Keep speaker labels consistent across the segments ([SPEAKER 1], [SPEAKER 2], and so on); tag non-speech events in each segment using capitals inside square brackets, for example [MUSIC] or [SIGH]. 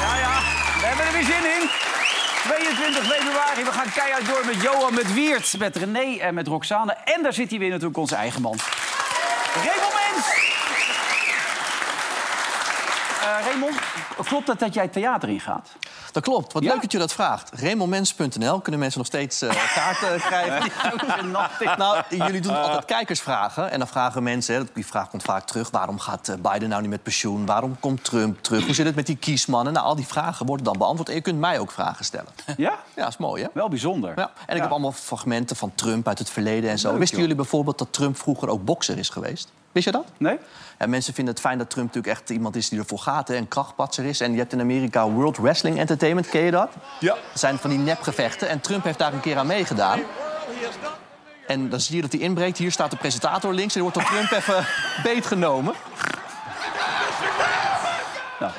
[SPEAKER 1] Ja, ja, we hebben er weer zin in. 22 februari, we gaan keihard door met Johan, met Wiert, met René en met Roxane. En daar zit hij weer natuurlijk, onze eigen man. Raymond Mens! Eh, Raymond, klopt het dat jij het theater ingaat?
[SPEAKER 2] Dat klopt. Wat
[SPEAKER 1] Ja.
[SPEAKER 2] leuk dat je dat vraagt. Remomens.nl kunnen mensen nog steeds eh, kaarten krijgen. Nou, jullie doen altijd kijkersvragen. En dan vragen mensen, hè, die vraag komt vaak terug... waarom gaat eh, Biden nou niet met pensioen? Waarom komt Trump terug? Hoe zit het met die kiesmannen? Nou, al die vragen worden dan beantwoord. En je kunt mij ook vragen stellen.
[SPEAKER 1] Ja?
[SPEAKER 2] Ja, is mooi, hè?
[SPEAKER 1] Wel bijzonder.
[SPEAKER 2] Ja. En ik heb allemaal fragmenten van Trump uit het verleden en zo. Wisten jullie bijvoorbeeld dat Trump vroeger ook bokser is geweest? Wist je dat?
[SPEAKER 1] Nee?
[SPEAKER 2] En mensen vinden het fijn dat Trump natuurlijk echt iemand is die ervoor gaat hè, en krachtpatser is. En je hebt in Amerika World Wrestling Entertainment, ken je dat?
[SPEAKER 3] Ja.
[SPEAKER 2] Dat zijn van die nepgevechten. En Trump heeft daar een keer aan meegedaan. En dan zie je dat hij inbreekt. Hier staat de presentator links. En die wordt door Trump even [LAUGHS] beetgenomen.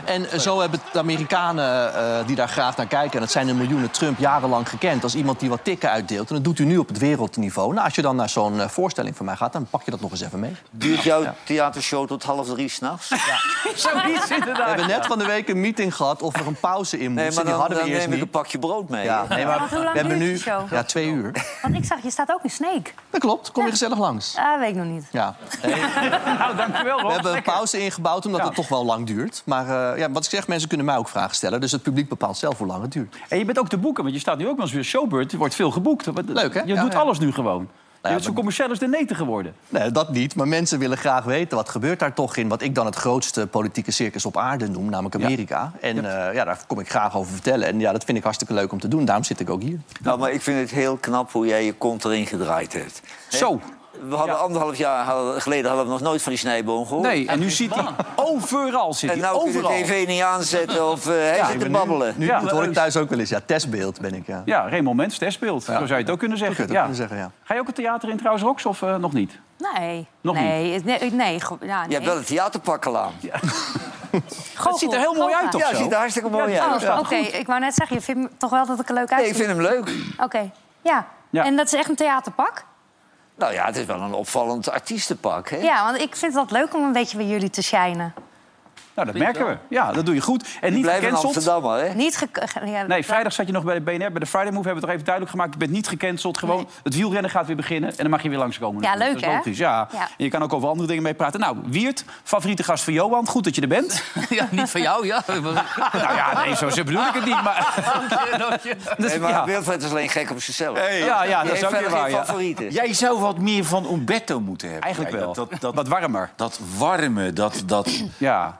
[SPEAKER 2] En eh, zo hebben de Amerikanen eh, die daar graag naar kijken... en dat zijn de miljoenen Trump jarenlang gekend... als iemand die wat tikken uitdeelt. En dat doet u nu op het wereldniveau. Nou, als je dan naar zo'n eh, voorstelling van mij gaat... dan pak je dat nog eens even mee.
[SPEAKER 4] Duurt jouw theatershow tot half drie s'nachts?
[SPEAKER 1] Zoiets
[SPEAKER 2] We
[SPEAKER 1] inderdaad.
[SPEAKER 2] hebben net van de week een meeting gehad of er een pauze in moest.
[SPEAKER 4] Nee, maar
[SPEAKER 2] en die
[SPEAKER 4] dan,
[SPEAKER 2] hadden we
[SPEAKER 4] dan
[SPEAKER 2] eerst
[SPEAKER 4] neem ik
[SPEAKER 2] niet.
[SPEAKER 4] een pakje brood mee.
[SPEAKER 2] Ja, nee, maar
[SPEAKER 5] Want hoe lang
[SPEAKER 2] we hebben
[SPEAKER 5] duurt
[SPEAKER 2] nu
[SPEAKER 5] die show?
[SPEAKER 2] ja, twee uur.
[SPEAKER 5] Want ik zag, je staat ook in Snake.
[SPEAKER 2] Dat klopt, kom je gezellig langs.
[SPEAKER 5] Ah, weet ik nog niet.
[SPEAKER 2] Ja. Nee,
[SPEAKER 1] Nou, dankjewel, Rob.
[SPEAKER 2] we hebben een
[SPEAKER 1] Lekker.
[SPEAKER 2] pauze ingebouwd omdat het toch wel lang duurt. Maar eh, ja, wat ik zeg, mensen kunnen mij ook vragen stellen. Dus het publiek bepaalt zelf hoe lang het duurt.
[SPEAKER 1] En je bent ook te boeken, want je staat nu ook wel eens weer showbeurt. Er wordt veel geboekt. Wat-
[SPEAKER 2] Leuk, hè?
[SPEAKER 1] Je
[SPEAKER 2] Ja,
[SPEAKER 1] doet
[SPEAKER 2] ja.
[SPEAKER 1] alles nu gewoon. je bent zo
[SPEAKER 2] maar-
[SPEAKER 1] commercieel als de neten geworden.
[SPEAKER 2] Nee, dat niet. Maar mensen willen graag weten wat gebeurt daar toch in. Wat ik dan het grootste politieke circus op aarde noem, namelijk Amerika. En eh, ja, daar kom ik graag over vertellen. En ja, dat vind ik hartstikke leuk om te doen. Daarom zit ik ook hier.
[SPEAKER 4] [LAUGHS] Nou, maar ik vind het heel knap hoe jij je kont erin gedraaid hebt. Hè?
[SPEAKER 1] Zo.
[SPEAKER 4] We hadden anderhalf jaar hadden- geleden hadden we nog nooit van die snijboom gehoord.
[SPEAKER 1] Nee, en nu zit hij overal. Zit
[SPEAKER 4] En
[SPEAKER 1] hij
[SPEAKER 4] nou kun je de
[SPEAKER 1] overal.
[SPEAKER 4] tv niet aanzetten
[SPEAKER 1] [LAUGHS]
[SPEAKER 4] of eh hij zit te babbelen.
[SPEAKER 2] Nu,
[SPEAKER 1] Ja,
[SPEAKER 2] dat hoor ik
[SPEAKER 1] leuk.
[SPEAKER 2] thuis ook wel eens. Ja, testbeeld ben ik, ja.
[SPEAKER 1] Ja, Raymond Mens, test speelt. Zo zou je het ook kunnen zeggen.
[SPEAKER 2] Zo kun je het ook kunnen zeggen,
[SPEAKER 1] Ga je ook het theater in trouwens, Rox, of eh, nog niet?
[SPEAKER 5] Nee.
[SPEAKER 1] Nog
[SPEAKER 5] nee. het- Nee, nee, go- ja,
[SPEAKER 4] Je
[SPEAKER 5] nee.
[SPEAKER 4] hebt wel het theaterpak al aan. Ja,
[SPEAKER 5] Goochel,
[SPEAKER 1] Het ziet er heel mooi
[SPEAKER 5] goochel.
[SPEAKER 1] uit, toch?
[SPEAKER 4] het
[SPEAKER 1] zo?
[SPEAKER 4] ziet er hartstikke mooi
[SPEAKER 1] Ja, nou,
[SPEAKER 4] uit.
[SPEAKER 5] Oh,
[SPEAKER 1] dat staat
[SPEAKER 5] Oké,
[SPEAKER 1] goed.
[SPEAKER 5] ik wou net zeggen, je vindt toch wel dat ik er leuk
[SPEAKER 4] Nee,
[SPEAKER 5] uitzie?
[SPEAKER 4] ik vind hem leuk.
[SPEAKER 5] Oké, ja.
[SPEAKER 1] Ja.
[SPEAKER 5] En dat is echt een theaterpak?
[SPEAKER 4] Nou ja, het is wel een opvallend artiestenpak. Hè?
[SPEAKER 5] Ja, want ik vind dat leuk om een beetje bij jullie te shinen.
[SPEAKER 1] Nou, dat merken we. Ja, dat doe je goed. En niet
[SPEAKER 4] Blijf in
[SPEAKER 1] gecanceld.
[SPEAKER 4] Amsterdam, hè?
[SPEAKER 5] Niet ge- ge- ja,
[SPEAKER 1] Nee, vrijdag zat je nog bij de BNR, bij de Friday Move. Hebben we het er even duidelijk gemaakt. Je bent niet gecanceld. Gewoon, het wielrennen gaat weer beginnen. En dan mag je weer langskomen.
[SPEAKER 5] Ja,
[SPEAKER 1] natuurlijk.
[SPEAKER 5] leuk,
[SPEAKER 1] Dat is
[SPEAKER 5] hè?
[SPEAKER 1] logisch, ja.
[SPEAKER 5] Ja.
[SPEAKER 1] En je kan ook over andere dingen mee praten. Nou, Wiert, favoriete gast van Johan. Goed dat je er bent.
[SPEAKER 5] [LAUGHS]
[SPEAKER 6] [LAUGHS] Ja, niet van jou,
[SPEAKER 7] [LAUGHS]
[SPEAKER 6] ja.
[SPEAKER 1] nou ja, nee, zo zo bedoel ik het niet. Maar, dus,
[SPEAKER 4] Nee, maar
[SPEAKER 1] ja.
[SPEAKER 4] Wilfred is alleen gek op zichzelf.
[SPEAKER 1] Ja, ja,
[SPEAKER 4] Die
[SPEAKER 1] dat is
[SPEAKER 4] heeft
[SPEAKER 1] ook weer
[SPEAKER 4] verder
[SPEAKER 1] waar.
[SPEAKER 4] geen
[SPEAKER 1] ja.
[SPEAKER 4] favorieten.
[SPEAKER 8] Jij zou wat meer van Umberto moeten hebben.
[SPEAKER 1] Eigenlijk
[SPEAKER 8] Ja,
[SPEAKER 1] wel.
[SPEAKER 8] Dat, dat,
[SPEAKER 1] Wat
[SPEAKER 8] dat,
[SPEAKER 1] warmer.
[SPEAKER 8] dat warme, dat, dat
[SPEAKER 1] [CLEARS THROAT] Ja.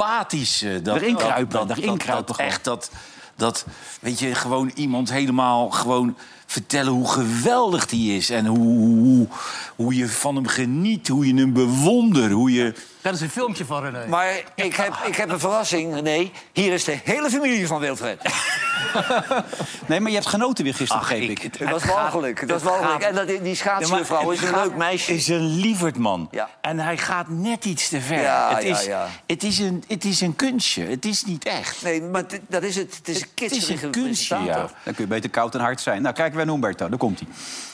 [SPEAKER 8] empathische. Dat,
[SPEAKER 1] Erin kruipen,
[SPEAKER 8] Dat, dat,
[SPEAKER 1] erin
[SPEAKER 8] dat,
[SPEAKER 1] kruipen
[SPEAKER 8] dat
[SPEAKER 1] gewoon.
[SPEAKER 8] echt, dat, dat, weet je, gewoon iemand helemaal gewoon vertellen hoe geweldig die is. En hoe, hoe, hoe- hoe je van hem geniet, hoe je hem bewondert. Hoe je...
[SPEAKER 6] Dat is een filmpje van René.
[SPEAKER 4] Maar ik heb, ik heb een verrassing, René. Hier is de hele familie van Wilfred.
[SPEAKER 1] Nee, maar je hebt genoten weer gisteren, begreep ik.
[SPEAKER 4] Dat was walgelijk. Dat was walgelijk. En dat, die schaatsjuffrouw is een leuk meisje.
[SPEAKER 8] is een lieverdman.
[SPEAKER 4] Ja.
[SPEAKER 8] En hij gaat net iets te ver.
[SPEAKER 4] Ja,
[SPEAKER 8] het,
[SPEAKER 4] ja,
[SPEAKER 8] is,
[SPEAKER 4] ja.
[SPEAKER 8] Het, is een, het is een kunstje. Het is niet echt.
[SPEAKER 4] Nee, maar dit- dat is het. Het is een
[SPEAKER 8] Het is
[SPEAKER 4] kitserige
[SPEAKER 8] een kunstje, ja.
[SPEAKER 4] presentator.
[SPEAKER 1] Dan kun je beter koud en hard zijn. Nou, kijken we naar Humberto. Daar komt hij.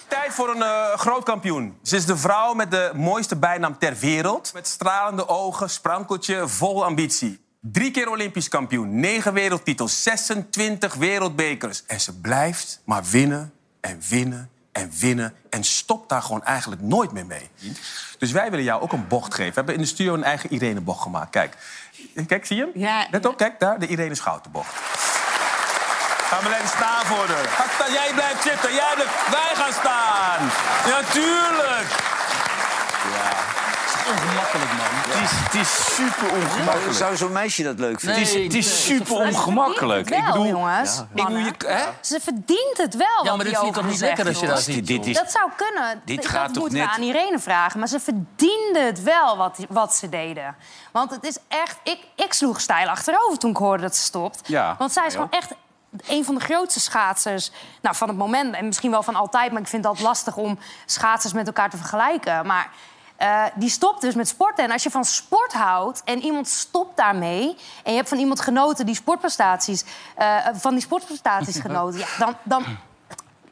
[SPEAKER 9] Tijd voor een eh, groot kampioen. Ze is de vrouw met de mooiste bijnaam ter wereld. Met stralende ogen, sprankeltje, vol ambitie. Drie keer Olympisch kampioen, negen wereldtitels, 26 wereldbekers. En ze blijft maar winnen en winnen en winnen. En stopt daar gewoon eigenlijk nooit meer mee. Dus wij willen jou ook een bocht geven. We hebben in de studio een eigen Irene-bocht gemaakt. Kijk, kijk zie je hem?
[SPEAKER 7] Ja.
[SPEAKER 9] Let op, kijk daar, de Irene Schoutenbocht. Gaan we lekker staan voor de. Ga staan. Jij blijft zitten. Jij blijft... Wij gaan staan. Natuurlijk. Ja.
[SPEAKER 6] echt ongemakkelijk, man.
[SPEAKER 8] Het is, het is super
[SPEAKER 4] Maar
[SPEAKER 8] ongemakkelijk.
[SPEAKER 4] zou zo'n meisje dat leuk vinden?
[SPEAKER 8] Het is, het is super
[SPEAKER 5] Maar ze
[SPEAKER 8] ongemakkelijk.
[SPEAKER 5] verdient
[SPEAKER 8] Ik
[SPEAKER 5] het wel,
[SPEAKER 8] bedoel,
[SPEAKER 5] jongens.
[SPEAKER 8] ik bedoel je,
[SPEAKER 5] mannen.
[SPEAKER 8] hè?
[SPEAKER 5] Ze verdient het wel.
[SPEAKER 6] Ja,
[SPEAKER 5] wat
[SPEAKER 6] maar
[SPEAKER 5] die
[SPEAKER 6] dat vind je
[SPEAKER 5] over
[SPEAKER 6] toch niet
[SPEAKER 5] zegt,
[SPEAKER 6] lekker als je
[SPEAKER 5] joh.
[SPEAKER 6] dat ziet?
[SPEAKER 8] Dit
[SPEAKER 6] joh?
[SPEAKER 8] is,
[SPEAKER 5] Dat zou kunnen.
[SPEAKER 8] Dit
[SPEAKER 5] dat
[SPEAKER 8] gaat toch
[SPEAKER 5] moeten
[SPEAKER 8] net-
[SPEAKER 5] we aan Irene vragen. Maar ze verdiende het wel, wat, wat ze deden. Want het is echt... Ik, ik sloeg stijl achterover toen ik hoorde dat ze stopt.
[SPEAKER 1] Ja,
[SPEAKER 5] Want zij is gewoon echt een van de grootste schaatsers nou, van het moment. En misschien wel van altijd. Maar ik vind dat lastig om schaatsers met elkaar te vergelijken. Maar eh, die stopt dus met sporten. En als je van sport houdt en iemand stopt daarmee... en je hebt van iemand genoten die sportprestaties... eh, van die
[SPEAKER 8] [LAUGHS]
[SPEAKER 5] sportprestaties genoten... Ja, dan, dan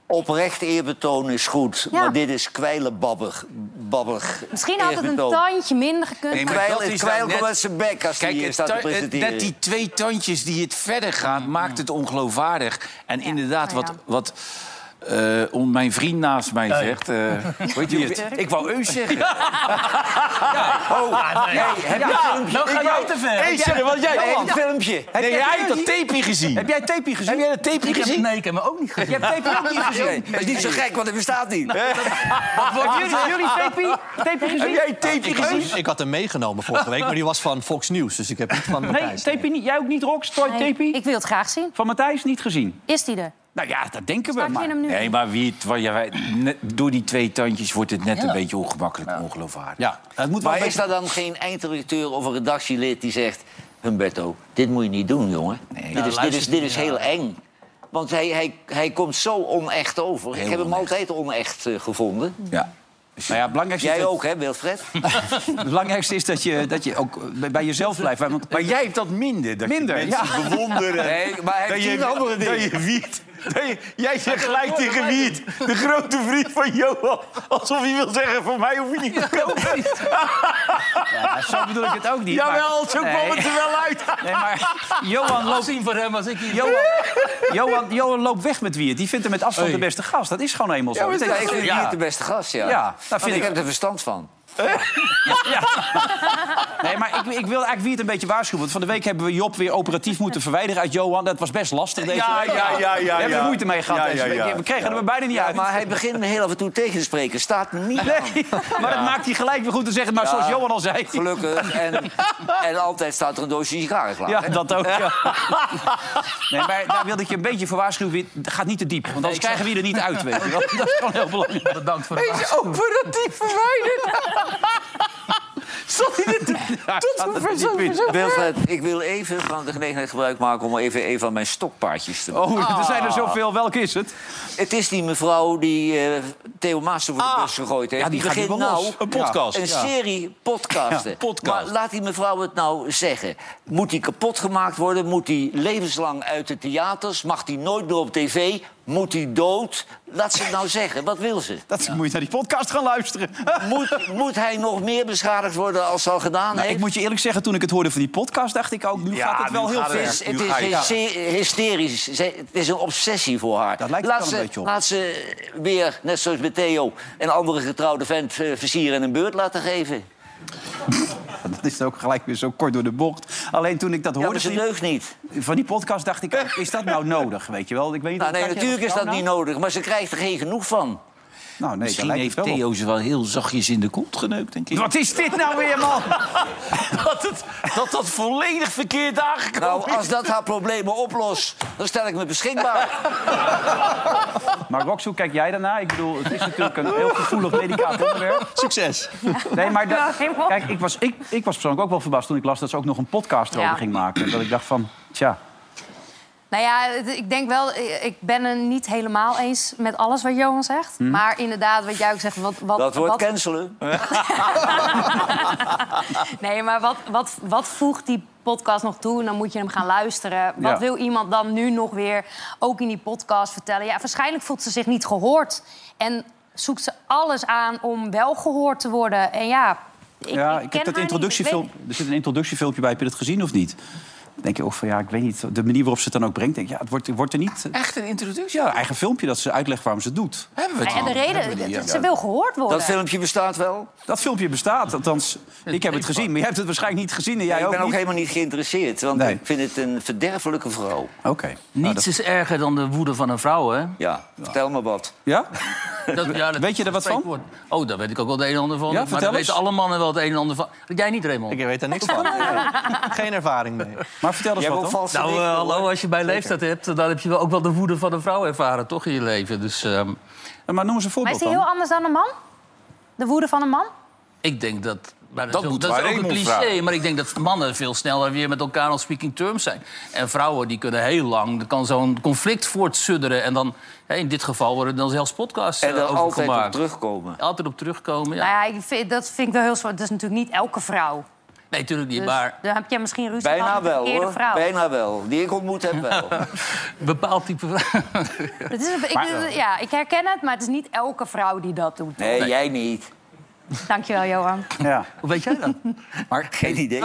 [SPEAKER 4] Oprecht eerbetoon is goed,
[SPEAKER 5] Ja.
[SPEAKER 4] maar dit is kwijlenbabbig. Babbig
[SPEAKER 5] Misschien had het een
[SPEAKER 4] eerbetoon.
[SPEAKER 5] tandje minder gekund.
[SPEAKER 8] Nee, maar
[SPEAKER 4] Kwijl,
[SPEAKER 8] dat is
[SPEAKER 4] kwijl
[SPEAKER 8] nou
[SPEAKER 4] komt
[SPEAKER 8] net-
[SPEAKER 4] uit zijn bek als hij
[SPEAKER 8] Kijk,
[SPEAKER 4] hier
[SPEAKER 8] het
[SPEAKER 4] staat te
[SPEAKER 8] tu- het-
[SPEAKER 4] presenteren.
[SPEAKER 8] net die twee tandjes die het verder gaan, maakt het ongeloofwaardig. En
[SPEAKER 5] Ja,
[SPEAKER 8] inderdaad,
[SPEAKER 5] nou
[SPEAKER 8] wat,
[SPEAKER 5] ja.
[SPEAKER 8] wat eh, on- mijn vriend naast mij zegt... eh, [LAUGHS] weet je, ik, ik wou
[SPEAKER 4] [LAUGHS]
[SPEAKER 8] Eus zeggen.
[SPEAKER 4] Oh, nee, heb je een filmpje?
[SPEAKER 6] Nou ga jij te ver.
[SPEAKER 8] zeg, wat jij...
[SPEAKER 4] Nee, heb je een filmpje?
[SPEAKER 8] Nee, jij hebt dat tapeje gezien.
[SPEAKER 1] Heb jij Tepi gezien?
[SPEAKER 8] jij dat tapeje
[SPEAKER 6] Ik heb
[SPEAKER 8] gezien?
[SPEAKER 6] nee, ik heb me ook niet gezien.
[SPEAKER 1] Je hebt Tepi ook niet gezien.
[SPEAKER 4] Dat is niet zo gek, want het bestaat niet.
[SPEAKER 1] Hebben jullie, jullie Tepi, tepi gezien?
[SPEAKER 8] jij tapeje
[SPEAKER 2] Ik, had- ik had hem meegenomen vorige week, maar die was van Fox News. Dus ik heb niet van
[SPEAKER 1] Nee,
[SPEAKER 2] Matthijs.
[SPEAKER 1] Tepi niet. Jij ook niet, Rox? Troy
[SPEAKER 5] Nee,
[SPEAKER 1] Tepi?
[SPEAKER 5] Ik wil het graag zien.
[SPEAKER 1] Van Matthijs niet gezien.
[SPEAKER 5] Is die er?
[SPEAKER 1] Nou ja, dat denken we.
[SPEAKER 5] Pak je
[SPEAKER 1] Maar.
[SPEAKER 5] hem nu?
[SPEAKER 8] Nee, maar wie, het- waar jij- net- door die twee tandjes wordt het net een beetje ongemakkelijk, ongeloofwaardig.
[SPEAKER 2] Ja.
[SPEAKER 8] Het moet wel
[SPEAKER 4] Maar is daar dan geen eindredacteur of een redactielid die zegt... Humberto, dit moet je niet doen, jongen.
[SPEAKER 1] nou,
[SPEAKER 4] dit is, dit is, dit is heel eng. Want hij, hij, hij komt zo onecht over. Ik
[SPEAKER 8] Heel
[SPEAKER 4] heb hem
[SPEAKER 8] onecht.
[SPEAKER 4] altijd onecht eh, gevonden.
[SPEAKER 8] Ja.
[SPEAKER 1] Nou ja, het belangrijkste, is
[SPEAKER 4] Jij
[SPEAKER 1] dat,
[SPEAKER 4] ook, hè,
[SPEAKER 1] [LAUGHS]
[SPEAKER 4] Wilfred?
[SPEAKER 1] het belangrijkste is dat je, dat je ook eh, bij- bij jezelf blijft. Want
[SPEAKER 8] Maar jij hebt dat minder. Dat
[SPEAKER 1] Minder,
[SPEAKER 8] je mensen bewonderen.
[SPEAKER 4] Nee, maar hij
[SPEAKER 8] dat
[SPEAKER 4] heeft
[SPEAKER 8] je,
[SPEAKER 4] tien andere
[SPEAKER 8] dat
[SPEAKER 4] dingen.
[SPEAKER 8] je wiet. dat je- jij zegt gelijk tegen wiet. De grote vriend van Johan. Alsof hij wil zeggen, voor mij hoef je niet te komen.
[SPEAKER 1] ja, zo bedoel ik het ook niet.
[SPEAKER 8] Jawel, zo
[SPEAKER 1] Nee.
[SPEAKER 8] kwam het er wel uit.
[SPEAKER 1] Nee, maar Johan loopt,
[SPEAKER 6] Afzien voor hem als ik hier...
[SPEAKER 1] Johan, Johan, Johan loopt weg met Wiert. Die vindt hem met afstand de beste gast. Dat is gewoon eenmaal zo.
[SPEAKER 4] Ja,
[SPEAKER 1] Dat
[SPEAKER 4] ik
[SPEAKER 1] is-
[SPEAKER 4] vind
[SPEAKER 1] ja.
[SPEAKER 4] hier de beste gast, ja.
[SPEAKER 1] Ja, dat
[SPEAKER 4] Want
[SPEAKER 1] vind
[SPEAKER 4] ik
[SPEAKER 1] ik.
[SPEAKER 4] heb er verstand van.
[SPEAKER 1] Nee, maar ik, ik wil eigenlijk Wiert een beetje waarschuwen. Want van de week hebben we Job weer operatief moeten verwijderen uit Johan. Dat was best lastig deze
[SPEAKER 8] Ja,
[SPEAKER 1] week.
[SPEAKER 8] ja, ja, ja,
[SPEAKER 1] We hebben
[SPEAKER 8] ja.
[SPEAKER 1] er moeite mee gehad.
[SPEAKER 8] Ja,
[SPEAKER 1] deze
[SPEAKER 8] ja,
[SPEAKER 1] week.
[SPEAKER 8] ja.
[SPEAKER 1] We kregen hem er bijna niet
[SPEAKER 4] Ja,
[SPEAKER 1] uit.
[SPEAKER 4] maar hij begint me heel af en toe tegen te spreken. Staat me niet aan.
[SPEAKER 1] Nee, maar dat maakt hij gelijk weer goed te zeggen. Maar zoals Johan al zei... [LAUGHS]
[SPEAKER 4] Gelukkig. En, en altijd staat er een doosje sigaren klaar.
[SPEAKER 1] Ja,
[SPEAKER 4] hè?
[SPEAKER 1] dat ook. Ja. Nee, maar daar wilde ik je een beetje voor waarschuwen. Wiert. Het gaat niet te diep, want anders krijgen we je er niet uit. Weet je. wel. Dat is gewoon heel belangrijk.
[SPEAKER 6] Bedankt voor de
[SPEAKER 8] Is operatief
[SPEAKER 1] [LAUGHS]
[SPEAKER 8] verwijderd. Zat hij dit te... Tot hoever zo
[SPEAKER 4] Wilfred, ik wil even van de gelegenheid gebruik maken... om even een van mijn stokpaardjes te
[SPEAKER 1] Oh, er zijn er zoveel. Welke is het?
[SPEAKER 4] Het is die mevrouw die eh, Theo Maassen voor de bus gegooid heeft.
[SPEAKER 1] Ah. Ja, die gaat nu wel los.
[SPEAKER 4] nou
[SPEAKER 1] Een podcast,
[SPEAKER 4] Een
[SPEAKER 1] ja.
[SPEAKER 4] serie podcasten.
[SPEAKER 1] Ja, podcast.
[SPEAKER 4] Maar laat die mevrouw het nou zeggen. Moet die kapot gemaakt worden? Moet die levenslang uit de theaters? Mag die nooit meer op tv? Moet die dood? Laat ze het nou zeggen. Wat wil ze?
[SPEAKER 1] Dat moet je naar die podcast gaan luisteren. [LAUGHS]
[SPEAKER 4] Moet, [LAUGHS] moet hij nog meer beschadigd worden als ze al gedaan
[SPEAKER 1] Nou,
[SPEAKER 4] heeft?
[SPEAKER 1] ik moet je eerlijk zeggen, toen ik het hoorde van die podcast... dacht ik ook, nu
[SPEAKER 8] Ja,
[SPEAKER 1] gaat het wel
[SPEAKER 8] nu
[SPEAKER 1] heel
[SPEAKER 8] gaat
[SPEAKER 1] ver.
[SPEAKER 4] Het is,
[SPEAKER 8] Nu
[SPEAKER 4] het
[SPEAKER 8] ga je.
[SPEAKER 4] is hyse- hysterisch. Zij- het is een obsessie voor haar.
[SPEAKER 1] Dat lijkt het
[SPEAKER 4] laat
[SPEAKER 1] wel een
[SPEAKER 4] ze,
[SPEAKER 1] beetje op.
[SPEAKER 4] Laat ze weer, net zoals met Theo, een andere getrouwde vent eh, versieren en een beurt laten geven.
[SPEAKER 1] Dat is ook gelijk weer zo kort door de bocht. Alleen toen ik dat
[SPEAKER 4] Ja, maar
[SPEAKER 1] hoorde
[SPEAKER 4] ze
[SPEAKER 1] van
[SPEAKER 4] deugt niet.
[SPEAKER 1] die, van die podcast, dacht ik ook, is dat [LAUGHS] nou nodig? Weet je wel? Ik weet niet
[SPEAKER 4] Nou,
[SPEAKER 1] of-
[SPEAKER 4] nee,
[SPEAKER 1] kijk jij
[SPEAKER 4] natuurlijk is dat
[SPEAKER 1] nou?
[SPEAKER 4] niet nodig, maar ze krijgt er geen genoeg van.
[SPEAKER 1] Nou, nee,
[SPEAKER 8] Misschien heeft
[SPEAKER 1] het wel op.
[SPEAKER 8] Theo ze wel heel zachtjes in de kont geneukt, denk ik.
[SPEAKER 1] Wat is dit nou weer, man?
[SPEAKER 8] Dat het, dat, dat volledig verkeerd aangekomen
[SPEAKER 4] Nou, als dat haar problemen oplost, dan stel ik me
[SPEAKER 1] [LAUGHS]
[SPEAKER 4] beschikbaar.
[SPEAKER 1] [LAUGHS] Maar Rox, hoe kijk jij daarna? Ik bedoel, het is natuurlijk een heel gevoelig [LAUGHS] medicaat onderwerp.
[SPEAKER 2] Succes.
[SPEAKER 1] Nee, maar dat-
[SPEAKER 5] Ja, geen probleem.
[SPEAKER 1] kijk, ik was, ik, ik was persoonlijk ook wel verbaasd toen ik las dat ze ook nog een podcast erover
[SPEAKER 5] Ja.
[SPEAKER 1] ging maken. Dat ik dacht van, tja,
[SPEAKER 5] Nou ja, het- ik denk wel... eh, Ik ben het niet helemaal eens met alles wat Johan zegt.
[SPEAKER 1] Mhm.
[SPEAKER 5] Maar inderdaad, wat jij ook zegt... Wat, wat,
[SPEAKER 4] Dat wordt
[SPEAKER 5] wat-
[SPEAKER 4] cancelen.
[SPEAKER 5] Nee, maar wat, wat, wat voegt die podcast nog toe? Dan moet je hem gaan luisteren. Wat
[SPEAKER 1] Ja.
[SPEAKER 5] wil iemand dan nu nog weer ook in die podcast vertellen? Ja, waarschijnlijk voelt ze zich niet gehoord. En zoekt ze alles aan om wel gehoord te worden. En ja... Ik,
[SPEAKER 1] ja,
[SPEAKER 5] ik
[SPEAKER 1] ik
[SPEAKER 5] ken
[SPEAKER 1] heb dat
[SPEAKER 5] haar niet. Ik weet-
[SPEAKER 1] introductiefilm. Er zit een introductiefilmpje bij. Heb je dat gezien of niet? denk je ook van ja, ik weet niet. De manier waarop ze het dan ook brengt, denk ik, ja, het wordt, wordt er niet. eh,
[SPEAKER 6] Echt een introductie?
[SPEAKER 1] Ja, eigen filmpje dat ze uitlegt waarom ze het doet.
[SPEAKER 6] Hebben we het
[SPEAKER 5] En de
[SPEAKER 6] al?
[SPEAKER 5] reden, ze wil gehoord worden.
[SPEAKER 4] Dat filmpje bestaat wel.
[SPEAKER 1] Dat filmpje bestaat, althans, ik heb het gezien. Maar jij hebt het waarschijnlijk niet gezien en jij
[SPEAKER 4] ik
[SPEAKER 1] ook
[SPEAKER 4] ben ook
[SPEAKER 1] niet.
[SPEAKER 4] helemaal niet geïnteresseerd, want
[SPEAKER 1] Nee.
[SPEAKER 4] ik vind het een verderfelijke vrouw.
[SPEAKER 1] Oké. Nou,
[SPEAKER 7] Niets
[SPEAKER 1] dat-
[SPEAKER 7] is erger dan de woede van een vrouw, hè?
[SPEAKER 4] Ja, vertel me wat.
[SPEAKER 1] Ja?
[SPEAKER 7] Dat- ja, dat
[SPEAKER 1] Weet je er wat van?
[SPEAKER 7] spreekwoord. Oh, daar weet ik ook wel het een en ander van.
[SPEAKER 1] Ja,
[SPEAKER 7] maar
[SPEAKER 1] vertel
[SPEAKER 7] daar
[SPEAKER 1] eens.
[SPEAKER 7] weten alle mannen wel het een en ander van. Jij niet, Raymond? Nou,
[SPEAKER 2] Ik weet daar niks van. Geen ervaring mee.
[SPEAKER 1] Maar vertel eens
[SPEAKER 4] Jij
[SPEAKER 1] wat
[SPEAKER 4] hebt ook
[SPEAKER 1] dan.
[SPEAKER 4] valse
[SPEAKER 7] Nou,
[SPEAKER 4] lichten,
[SPEAKER 7] eh,
[SPEAKER 4] hoor.
[SPEAKER 7] hallo, als je bij leeftijd hebt, dan heb je wel ook wel de woede van een vrouw ervaren, toch, in je leven. Dus ehm,
[SPEAKER 1] Maar noem eens een
[SPEAKER 5] Maar
[SPEAKER 1] voorbeeld
[SPEAKER 5] is die
[SPEAKER 1] dan.
[SPEAKER 5] heel anders dan een man? De woede van een man?
[SPEAKER 7] ik denk dat... Maar dat,
[SPEAKER 8] Dat
[SPEAKER 7] is ook-
[SPEAKER 8] moet
[SPEAKER 7] dat is
[SPEAKER 8] waar
[SPEAKER 7] ook een
[SPEAKER 8] Raymond
[SPEAKER 7] cliché,
[SPEAKER 8] vragen.
[SPEAKER 7] maar ik denk dat mannen veel sneller weer met elkaar on speaking terms zijn. En vrouwen, die kunnen heel lang, er kan zo'n conflict voortzudderen. En dan, hè, in dit geval, worden er dan zelfs podcasts
[SPEAKER 4] En
[SPEAKER 7] eh,
[SPEAKER 4] er
[SPEAKER 7] over
[SPEAKER 4] altijd op
[SPEAKER 7] gemaakt.
[SPEAKER 4] terugkomen.
[SPEAKER 7] Altijd op terugkomen, ja.
[SPEAKER 5] Nou ja, ik vind, dat vind ik wel heel zwaar. Dat is natuurlijk niet elke vrouw.
[SPEAKER 7] Nee, natuurlijk niet,
[SPEAKER 5] Dus
[SPEAKER 7] maar
[SPEAKER 5] dan heb jij misschien ruzie gehad
[SPEAKER 4] Bijna
[SPEAKER 5] met de
[SPEAKER 4] wel,
[SPEAKER 5] verkeerde
[SPEAKER 4] hoor.
[SPEAKER 5] vrouw.
[SPEAKER 4] Bijna wel. Die ik ontmoet heb wel.
[SPEAKER 5] [LAUGHS]
[SPEAKER 7] een bepaald type vrouw. [LAUGHS]
[SPEAKER 5] Dat is, ik, ja, ik herken het, maar het is niet elke vrouw die dat doet.
[SPEAKER 4] Nee, jij niet.
[SPEAKER 5] Dankjewel, Johan.
[SPEAKER 1] Ja.
[SPEAKER 7] Hoe weet jij dat?
[SPEAKER 4] Geen idee.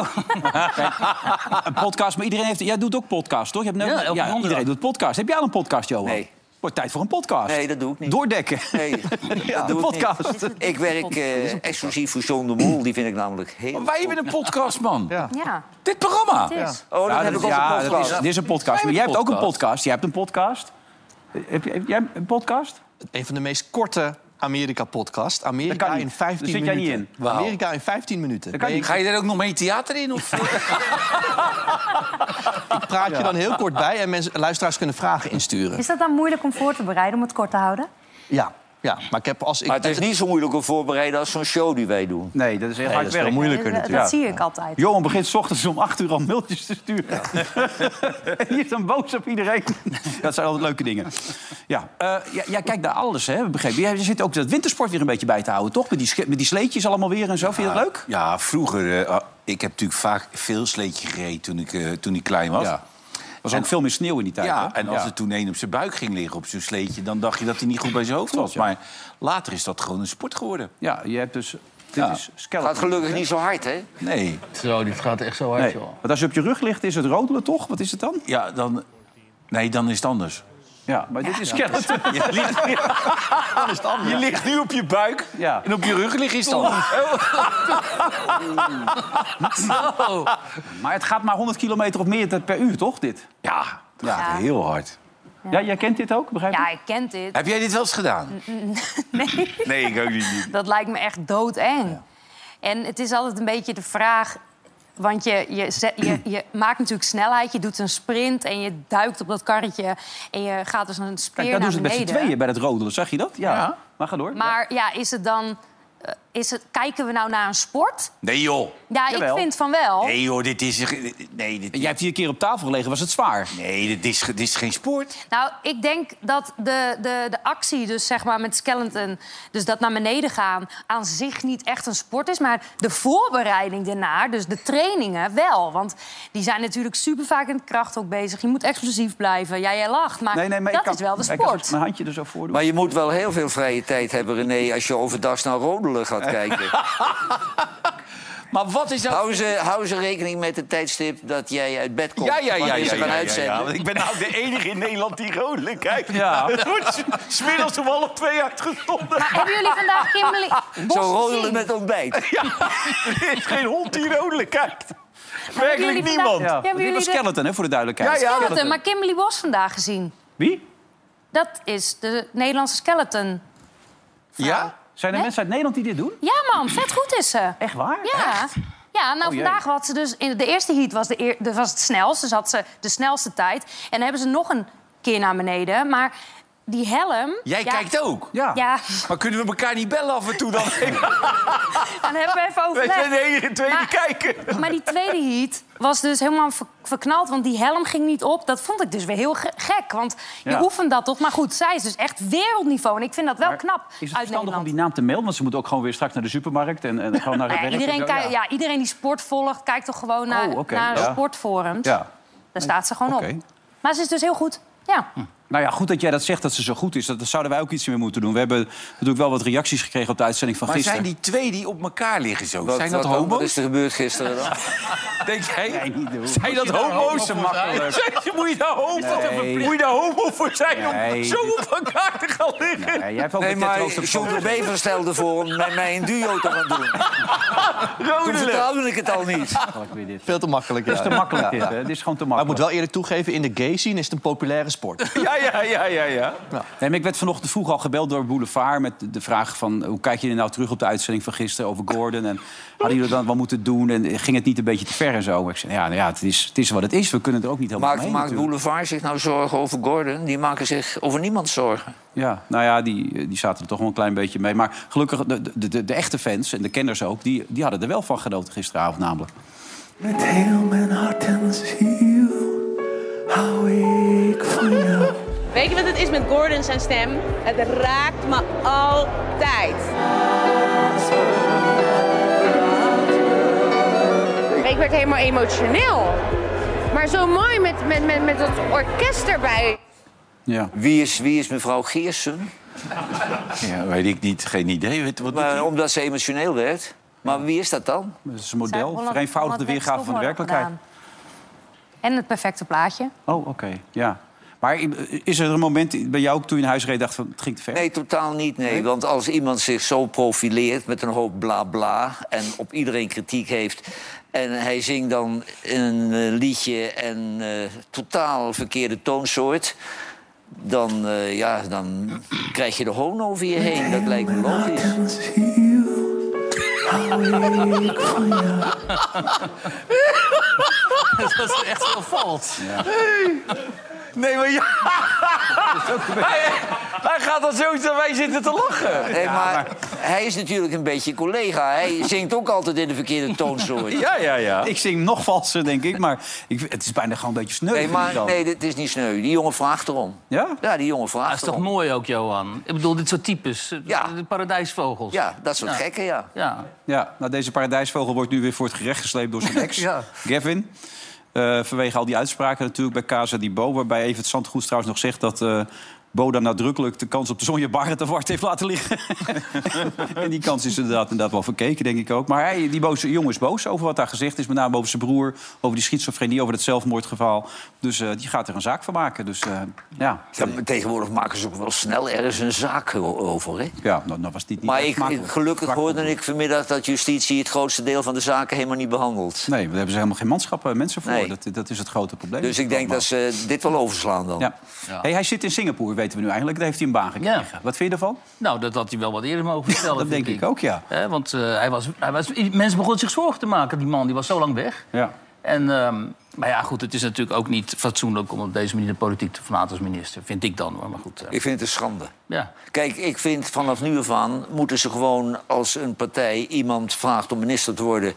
[SPEAKER 1] Een podcast, maar iedereen heeft... Jij doet ook podcast, toch? Je hebt net-
[SPEAKER 7] Ja, elke donderdag.
[SPEAKER 1] iedereen doet podcast. Heb jij al een podcast, Johan?
[SPEAKER 4] Nee.
[SPEAKER 1] Wordt tijd voor een podcast.
[SPEAKER 4] Nee, dat doe ik niet.
[SPEAKER 1] Doordekken.
[SPEAKER 4] [LAUGHS] Nee,
[SPEAKER 1] Ja,
[SPEAKER 4] dat doe
[SPEAKER 1] een
[SPEAKER 4] ik niet.
[SPEAKER 1] podcast.
[SPEAKER 4] [LAUGHS] Ik werk eh, exclusief voor John de Mol. Die vind ik namelijk heel...
[SPEAKER 8] Wij hebben een podcast, man.
[SPEAKER 5] Ja,
[SPEAKER 8] Dit programma.
[SPEAKER 5] het is.
[SPEAKER 4] Oh, dat
[SPEAKER 1] Ja,
[SPEAKER 4] heb
[SPEAKER 1] dat-
[SPEAKER 4] ik ook
[SPEAKER 1] ja,
[SPEAKER 4] een
[SPEAKER 1] dat
[SPEAKER 4] podcast.
[SPEAKER 1] is- Dit is een podcast. Maar
[SPEAKER 8] Wij
[SPEAKER 1] jij hebt
[SPEAKER 8] hebben
[SPEAKER 1] ook een
[SPEAKER 8] podcast.
[SPEAKER 1] podcast. Jij hebt een podcast. Heb, je- heb jij een podcast?
[SPEAKER 2] Een van de meest korte Amerika-podcast.
[SPEAKER 1] Dat
[SPEAKER 2] Amerika
[SPEAKER 1] kan niet.
[SPEAKER 2] in 15
[SPEAKER 1] Daar zit jij
[SPEAKER 2] minuten.
[SPEAKER 1] niet
[SPEAKER 8] Wauw.
[SPEAKER 2] Amerika in 15 minuten.
[SPEAKER 1] Dat kan niet.
[SPEAKER 2] Ik
[SPEAKER 8] Ga je daar ook nog mee theater in? Of?
[SPEAKER 2] praat je dan heel kort bij en mensen, luisteraars kunnen
[SPEAKER 1] [LAUGHS]
[SPEAKER 2] vragen insturen.
[SPEAKER 5] Is dat dan moeilijk om voor te bereiden, om het kort te houden?
[SPEAKER 2] Ja, ja. maar ik heb als ik...
[SPEAKER 4] Maar het is niet zo moeilijk om voorbereiden als zo'n show die wij doen.
[SPEAKER 1] Nee, dat is heel
[SPEAKER 2] Nee,
[SPEAKER 1] hard
[SPEAKER 2] dat is
[SPEAKER 1] werk.
[SPEAKER 2] veel moeilijker
[SPEAKER 5] Eh, dat
[SPEAKER 2] natuurlijk.
[SPEAKER 5] dat zie ik altijd.
[SPEAKER 1] Johan begint 's ochtends om 8 uur al mailtjes te sturen. [LAUGHS] en die is dan boos op iedereen. [LAUGHS] dat zijn altijd leuke dingen. Ja, eh, jij, jij kijkt naar alles, hè? Begrepen. Jij zit ook dat wintersport weer een beetje bij te houden, toch? Met die, sch- met die sleetjes allemaal weer en zo. Vind je dat leuk?
[SPEAKER 8] Ja, vroeger. eh, ik heb natuurlijk vaak veel sleetje gereden toen ik, eh, toen ik klein was.
[SPEAKER 1] Ja. Er was ook veel meer sneeuw in die tijd.
[SPEAKER 8] Ja,
[SPEAKER 1] hè?
[SPEAKER 8] en als
[SPEAKER 1] Ja.
[SPEAKER 8] er toen een op zijn buik ging liggen op zijn sleetje... dan dacht je dat hij niet goed bij zijn hoofd was. Maar later is dat gewoon een sport geworden.
[SPEAKER 1] Ja, je hebt dus... Dit
[SPEAKER 8] Ja.
[SPEAKER 1] is skeleton.
[SPEAKER 4] Gaat gelukkig niet zo hard, hè?
[SPEAKER 8] Nee.
[SPEAKER 7] Zo, dit gaat echt zo hard,
[SPEAKER 1] Nee,
[SPEAKER 7] joh.
[SPEAKER 1] want als je op je rug ligt, is het rodelen, toch? Wat is het dan?
[SPEAKER 8] Ja, dan... Nee, dan is het anders.
[SPEAKER 1] [LAUGHS] Ja, maar dit is skeleton.
[SPEAKER 8] Je ligt, je ligt nu op je buik
[SPEAKER 1] Ja.
[SPEAKER 8] en op je rug ligt is
[SPEAKER 1] [LAUGHS]
[SPEAKER 8] het anders.
[SPEAKER 1] Oh. Maar het gaat maar 100 kilometer of meer per uur, toch, dit?
[SPEAKER 8] Ja, dat
[SPEAKER 1] Ja.
[SPEAKER 8] gaat heel hard.
[SPEAKER 1] Ja, jij kent dit ook, begrijp ik?
[SPEAKER 5] Ja, ik ken dit.
[SPEAKER 8] Heb jij dit wel eens gedaan? Nee. Nee, ik ook niet.
[SPEAKER 5] Dat lijkt me echt doodeng. En het is altijd een beetje de vraag... Want je, je, zet- je, je maakt natuurlijk snelheid, je doet een sprint... en je duikt op dat karretje en je gaat dus een speer
[SPEAKER 1] Kijk, daar
[SPEAKER 5] naar
[SPEAKER 1] doen ze het met
[SPEAKER 5] beneden.
[SPEAKER 1] z'n tweeën bij het rodelen. Zag je dat? Ja.
[SPEAKER 8] Ja.
[SPEAKER 1] Maar ga door.
[SPEAKER 5] Maar ja, is het dan... eh, Is het, kijken we nou naar een sport?
[SPEAKER 8] Nee, joh.
[SPEAKER 5] Ja,
[SPEAKER 1] Jawel.
[SPEAKER 5] ik vind van wel.
[SPEAKER 8] Nee, joh, dit is... Nee, dit,
[SPEAKER 1] Jij hebt hier een keer op tafel gelegen. Was het zwaar?
[SPEAKER 8] nee, dit is, dit is geen sport.
[SPEAKER 5] Nou, ik denk dat de, de, de actie, dus zeg maar met skeleton, dus dat naar beneden gaan, aan zich niet echt een sport is. Maar de voorbereiding daarna, dus de trainingen wel. Want die zijn natuurlijk super vaak in het krachthok bezig. Je moet explosief blijven. Ja, jij lacht, maar, dat
[SPEAKER 1] ik kan-
[SPEAKER 5] is wel de
[SPEAKER 1] ik kan
[SPEAKER 5] sport.
[SPEAKER 1] mijn handje er zo voor doen.
[SPEAKER 4] Maar je moet wel heel veel vrije tijd hebben, René... als je overdag naar rodelen gaat kijken.
[SPEAKER 8] Maar wat is dat?
[SPEAKER 4] Hou ze, hou ze rekening met het tijdstip dat jij uit bed komt.
[SPEAKER 8] Ja, ja, ja, ja,
[SPEAKER 4] wanneer ze
[SPEAKER 8] ja,
[SPEAKER 4] gaan
[SPEAKER 8] ja, ja,
[SPEAKER 4] uitzenden.
[SPEAKER 8] Want Ik ben nou de enige in Nederland die rodelen
[SPEAKER 1] [LAUGHS]
[SPEAKER 8] kijkt.
[SPEAKER 1] Ja.
[SPEAKER 8] Dat wordt smiddags om half twee uitgestonden.
[SPEAKER 5] Maar hebben jullie vandaag
[SPEAKER 1] [LAUGHS]
[SPEAKER 5] Kimberly Bos
[SPEAKER 4] Zo rodelen
[SPEAKER 5] gezien?
[SPEAKER 4] met ontbijt.
[SPEAKER 8] Er is geen hond die rodelen kijkt.
[SPEAKER 5] Hebben
[SPEAKER 8] Werkelijk
[SPEAKER 5] jullie vandaag-
[SPEAKER 8] niemand.
[SPEAKER 5] Ja,
[SPEAKER 1] Ja,
[SPEAKER 5] hebben
[SPEAKER 1] dit was
[SPEAKER 5] jullie de
[SPEAKER 1] skeleton, hè, voor de duidelijkheid.
[SPEAKER 5] skeleton, maar Kimberly Bos vandaag gezien?
[SPEAKER 1] Wie?
[SPEAKER 5] Dat is de Nederlandse skeleton.
[SPEAKER 8] Ja?
[SPEAKER 1] Zijn er
[SPEAKER 5] Hè?
[SPEAKER 1] mensen uit Nederland die dit doen?
[SPEAKER 5] Ja, man, vet goed is ze.
[SPEAKER 1] Echt waar?
[SPEAKER 5] Ja. Ja, nou
[SPEAKER 1] jee.
[SPEAKER 5] vandaag had ze dus... In de eerste heat was, de eer- de- was het snelst, dus had ze de snelste tijd. En dan hebben ze nog een keer naar beneden. Maar die helm...
[SPEAKER 8] Jij
[SPEAKER 5] ja,
[SPEAKER 8] kijkt ook.
[SPEAKER 1] Ja.
[SPEAKER 5] Ja, [LAUGHS]
[SPEAKER 8] Maar kunnen we elkaar niet bellen af en toe dan?
[SPEAKER 5] dan hebben we even
[SPEAKER 8] Wij zijn
[SPEAKER 5] overleg.
[SPEAKER 8] de enige twee die
[SPEAKER 5] Maar-
[SPEAKER 8] kijken.
[SPEAKER 5] Maar die tweede heat was dus helemaal ver- verknald, want die helm ging niet op. Dat vond ik dus weer heel ge- gek, want je
[SPEAKER 1] Ja.
[SPEAKER 5] oefent dat toch? Maar goed, zij is dus echt wereldniveau. En ik vind dat wel
[SPEAKER 1] Maar
[SPEAKER 5] knap
[SPEAKER 1] Is het
[SPEAKER 5] uit
[SPEAKER 1] verstandig om
[SPEAKER 5] Nederland.
[SPEAKER 1] die naam te melden? Want ze moeten ook gewoon weer straks naar de supermarkt en, en gewoon naar het
[SPEAKER 5] Nou ja,
[SPEAKER 1] werk.
[SPEAKER 5] iedereen,
[SPEAKER 1] en zo,
[SPEAKER 5] kijkt-
[SPEAKER 1] ja.
[SPEAKER 5] ja, iedereen die sport volgt, kijkt toch gewoon naar,
[SPEAKER 1] Oh, oké,
[SPEAKER 5] naar
[SPEAKER 1] ja.
[SPEAKER 5] sportforums.
[SPEAKER 1] Ja.
[SPEAKER 5] Daar staat ze gewoon
[SPEAKER 1] Oké.
[SPEAKER 5] op. Maar ze is dus heel goed. Ja.
[SPEAKER 1] Nou ja, goed dat jij dat zegt dat ze zo goed is. Dat, daar zouden wij ook iets mee moeten doen. We hebben natuurlijk wel wat reacties gekregen op de uitzending van
[SPEAKER 8] Maar
[SPEAKER 1] gisteren.
[SPEAKER 8] zijn die twee die op elkaar liggen zo?
[SPEAKER 4] Wat-
[SPEAKER 8] zijn dat
[SPEAKER 4] wat- Wat
[SPEAKER 8] homo's?
[SPEAKER 4] is er gebeurd gisteren dan?
[SPEAKER 8] Denk jij?
[SPEAKER 1] Nee, niet doen.
[SPEAKER 8] Zijn dat
[SPEAKER 7] [LAUGHS]
[SPEAKER 8] homo's?
[SPEAKER 1] Te makkelijk.
[SPEAKER 8] Zijn- Moet je daar homo,
[SPEAKER 1] Nee.
[SPEAKER 8] moet je daar homo voor zijn om
[SPEAKER 1] Nee.
[SPEAKER 8] zo op elkaar te gaan liggen?
[SPEAKER 1] Nee, jij hebt ook
[SPEAKER 4] Nee,
[SPEAKER 1] een
[SPEAKER 4] maar
[SPEAKER 1] tetraloos op
[SPEAKER 4] John de
[SPEAKER 1] foto.
[SPEAKER 4] Bever stelde voor om met mij een duo te gaan
[SPEAKER 1] [LAUGHS]
[SPEAKER 4] doen. Toen vertrouwde ik het al niet.
[SPEAKER 2] Veel te makkelijk.
[SPEAKER 1] Dat is te makkelijk dit, hè? Dit is gewoon te
[SPEAKER 2] Maar ik moet
[SPEAKER 1] makkelijk.
[SPEAKER 2] wel eerlijk toegeven, in de gay scene is het een populaire sport.
[SPEAKER 8] Ja, ja, ja, ja, ja.
[SPEAKER 1] Nee, maar ik werd vanochtend vroeg al gebeld door Boulevard... met de vraag van hoe kijk je nou terug op de uitzending van gisteren over Gordon? En hadden jullie dat wel moeten doen? En ging het niet een beetje te ver en zo? Maar Ik zei, ja, nou ja het, is, het is wat het is. We kunnen er ook niet helemaal
[SPEAKER 4] Maakt,
[SPEAKER 1] mee
[SPEAKER 4] maakt
[SPEAKER 1] natuurlijk.
[SPEAKER 4] Boulevard zich nou zorgen over Gordon? Die maken zich over niemand zorgen.
[SPEAKER 1] Ja, nou ja, die, die zaten er toch wel een klein beetje mee. Maar gelukkig, de, de, de, de echte fans en de kenners ook... Die, die hadden er wel van genoten gisteravond namelijk.
[SPEAKER 10] Met heel mijn hart en ziel hou ik van jou.
[SPEAKER 11] Weet je wat het is met Gordon zijn stem? Het raakt me altijd. Ik werd helemaal emotioneel. Maar zo mooi met, met, met, met dat orkest erbij.
[SPEAKER 1] Ja.
[SPEAKER 4] Wie is, wie is mevrouw Geersen?
[SPEAKER 8] Ja, weet ik niet. Geen idee. Weet, wat doet
[SPEAKER 4] Maar
[SPEAKER 8] hij?
[SPEAKER 4] omdat ze emotioneel werd. Maar wie is dat dan?
[SPEAKER 1] Dat is een model, vereenvoudigde weergave van de werkelijkheid.
[SPEAKER 5] En het perfecte plaatje.
[SPEAKER 1] Oh, oké, ja. Maar i- is er een moment bij jou ook toen je in huis reed dacht van het ging te ver?
[SPEAKER 4] Nee, totaal niet, nee. Want als iemand zich zo profileert met een hoop bla-bla... en op iedereen kritiek heeft... en hij zingt dan een eh, liedje en eh, totaal verkeerde toonsoort... Dan, eh, ja, dan krijg je de hoon over je heen. Dat lijkt me logisch.
[SPEAKER 7] [LAUGHS] Dat is echt wel valt.
[SPEAKER 8] Nee, maar ja. hij, hij gaat dan zo en wij zitten te lachen.
[SPEAKER 4] Nee, maar, hij is natuurlijk een beetje collega. Hij zingt ook altijd in de verkeerde toonsoort.
[SPEAKER 8] Ja, ja, ja.
[SPEAKER 1] Ik zing nog valser, denk ik, maar ik, het is bijna gewoon een beetje sneu.
[SPEAKER 4] Nee,
[SPEAKER 1] vind ik
[SPEAKER 4] maar
[SPEAKER 1] dan.
[SPEAKER 4] nee, dit is niet sneu. Die jongen vraagt erom.
[SPEAKER 1] Ja?
[SPEAKER 4] Ja, die jongen
[SPEAKER 7] Dat is
[SPEAKER 4] vraagt
[SPEAKER 7] toch
[SPEAKER 4] erom.
[SPEAKER 7] mooi ook, Johan? Ik bedoel, dit soort types. eh,
[SPEAKER 4] Ja.
[SPEAKER 7] De paradijsvogels.
[SPEAKER 4] Ja, dat soort gekken, ja.
[SPEAKER 7] Ja.
[SPEAKER 1] Ja, nou, deze paradijsvogel wordt nu weer voor het gerecht gesleept door
[SPEAKER 4] [LAUGHS]
[SPEAKER 1] zijn ex, Gavin. Eh, vanwege al die uitspraken natuurlijk bij Casa di Bo... waarbij Evert Zandgoed trouwens nog zegt dat... eh Bo daar nadrukkelijk de kans op de Sonja Barret te wart heeft laten liggen. [LAUGHS] en die kans is inderdaad, inderdaad wel verkeken, denk ik ook. Maar hij, die boze jongen is boos over wat daar gezegd is. Met name over zijn broer, over die schizofrenie, over dat zelfmoordgeval. Dus eh, die gaat er een zaak van maken. Dus eh, ja,
[SPEAKER 4] Ja, maar tegenwoordig maken ze ook wel snel ergens een zaak o- over. Hè?
[SPEAKER 1] ja nou, nou was dit niet
[SPEAKER 4] Maar
[SPEAKER 1] echt
[SPEAKER 4] ik,
[SPEAKER 1] makkelijk.
[SPEAKER 4] ik- gelukkig
[SPEAKER 1] Makkelijk.
[SPEAKER 4] hoorde ik vanmiddag dat justitie het grootste deel van de zaken helemaal niet behandelt.
[SPEAKER 1] Nee, daar hebben ze helemaal geen manschappen en mensen voor.
[SPEAKER 4] Nee.
[SPEAKER 1] Dat, dat is het grote probleem.
[SPEAKER 4] Dus ik denk dat ze dit wel overslaan dan.
[SPEAKER 1] Ja. Hey, hij zit in Singapore, weten we nu eigenlijk. Daar heeft hij een baan gekregen.
[SPEAKER 7] Ja.
[SPEAKER 1] Wat vind je ervan?
[SPEAKER 7] Nou, dat had hij wel wat eerder mogen vertellen.
[SPEAKER 1] dat
[SPEAKER 7] vind
[SPEAKER 1] denk ik ook, ja.
[SPEAKER 7] Hè, want eh, hij was, hij was, mensen begonnen zich zorgen te maken. Die man die was zo lang weg.
[SPEAKER 1] Ja.
[SPEAKER 7] En, ehm, maar ja, goed, het is natuurlijk ook niet fatsoenlijk... om op deze manier de politiek te verlaten als minister. Vind ik dan, hoor. Maar goed, eh,
[SPEAKER 4] Ik vind het een schande.
[SPEAKER 7] ja.
[SPEAKER 4] Kijk, ik vind vanaf nu af aan moeten ze gewoon als een partij iemand vraagt om minister te worden.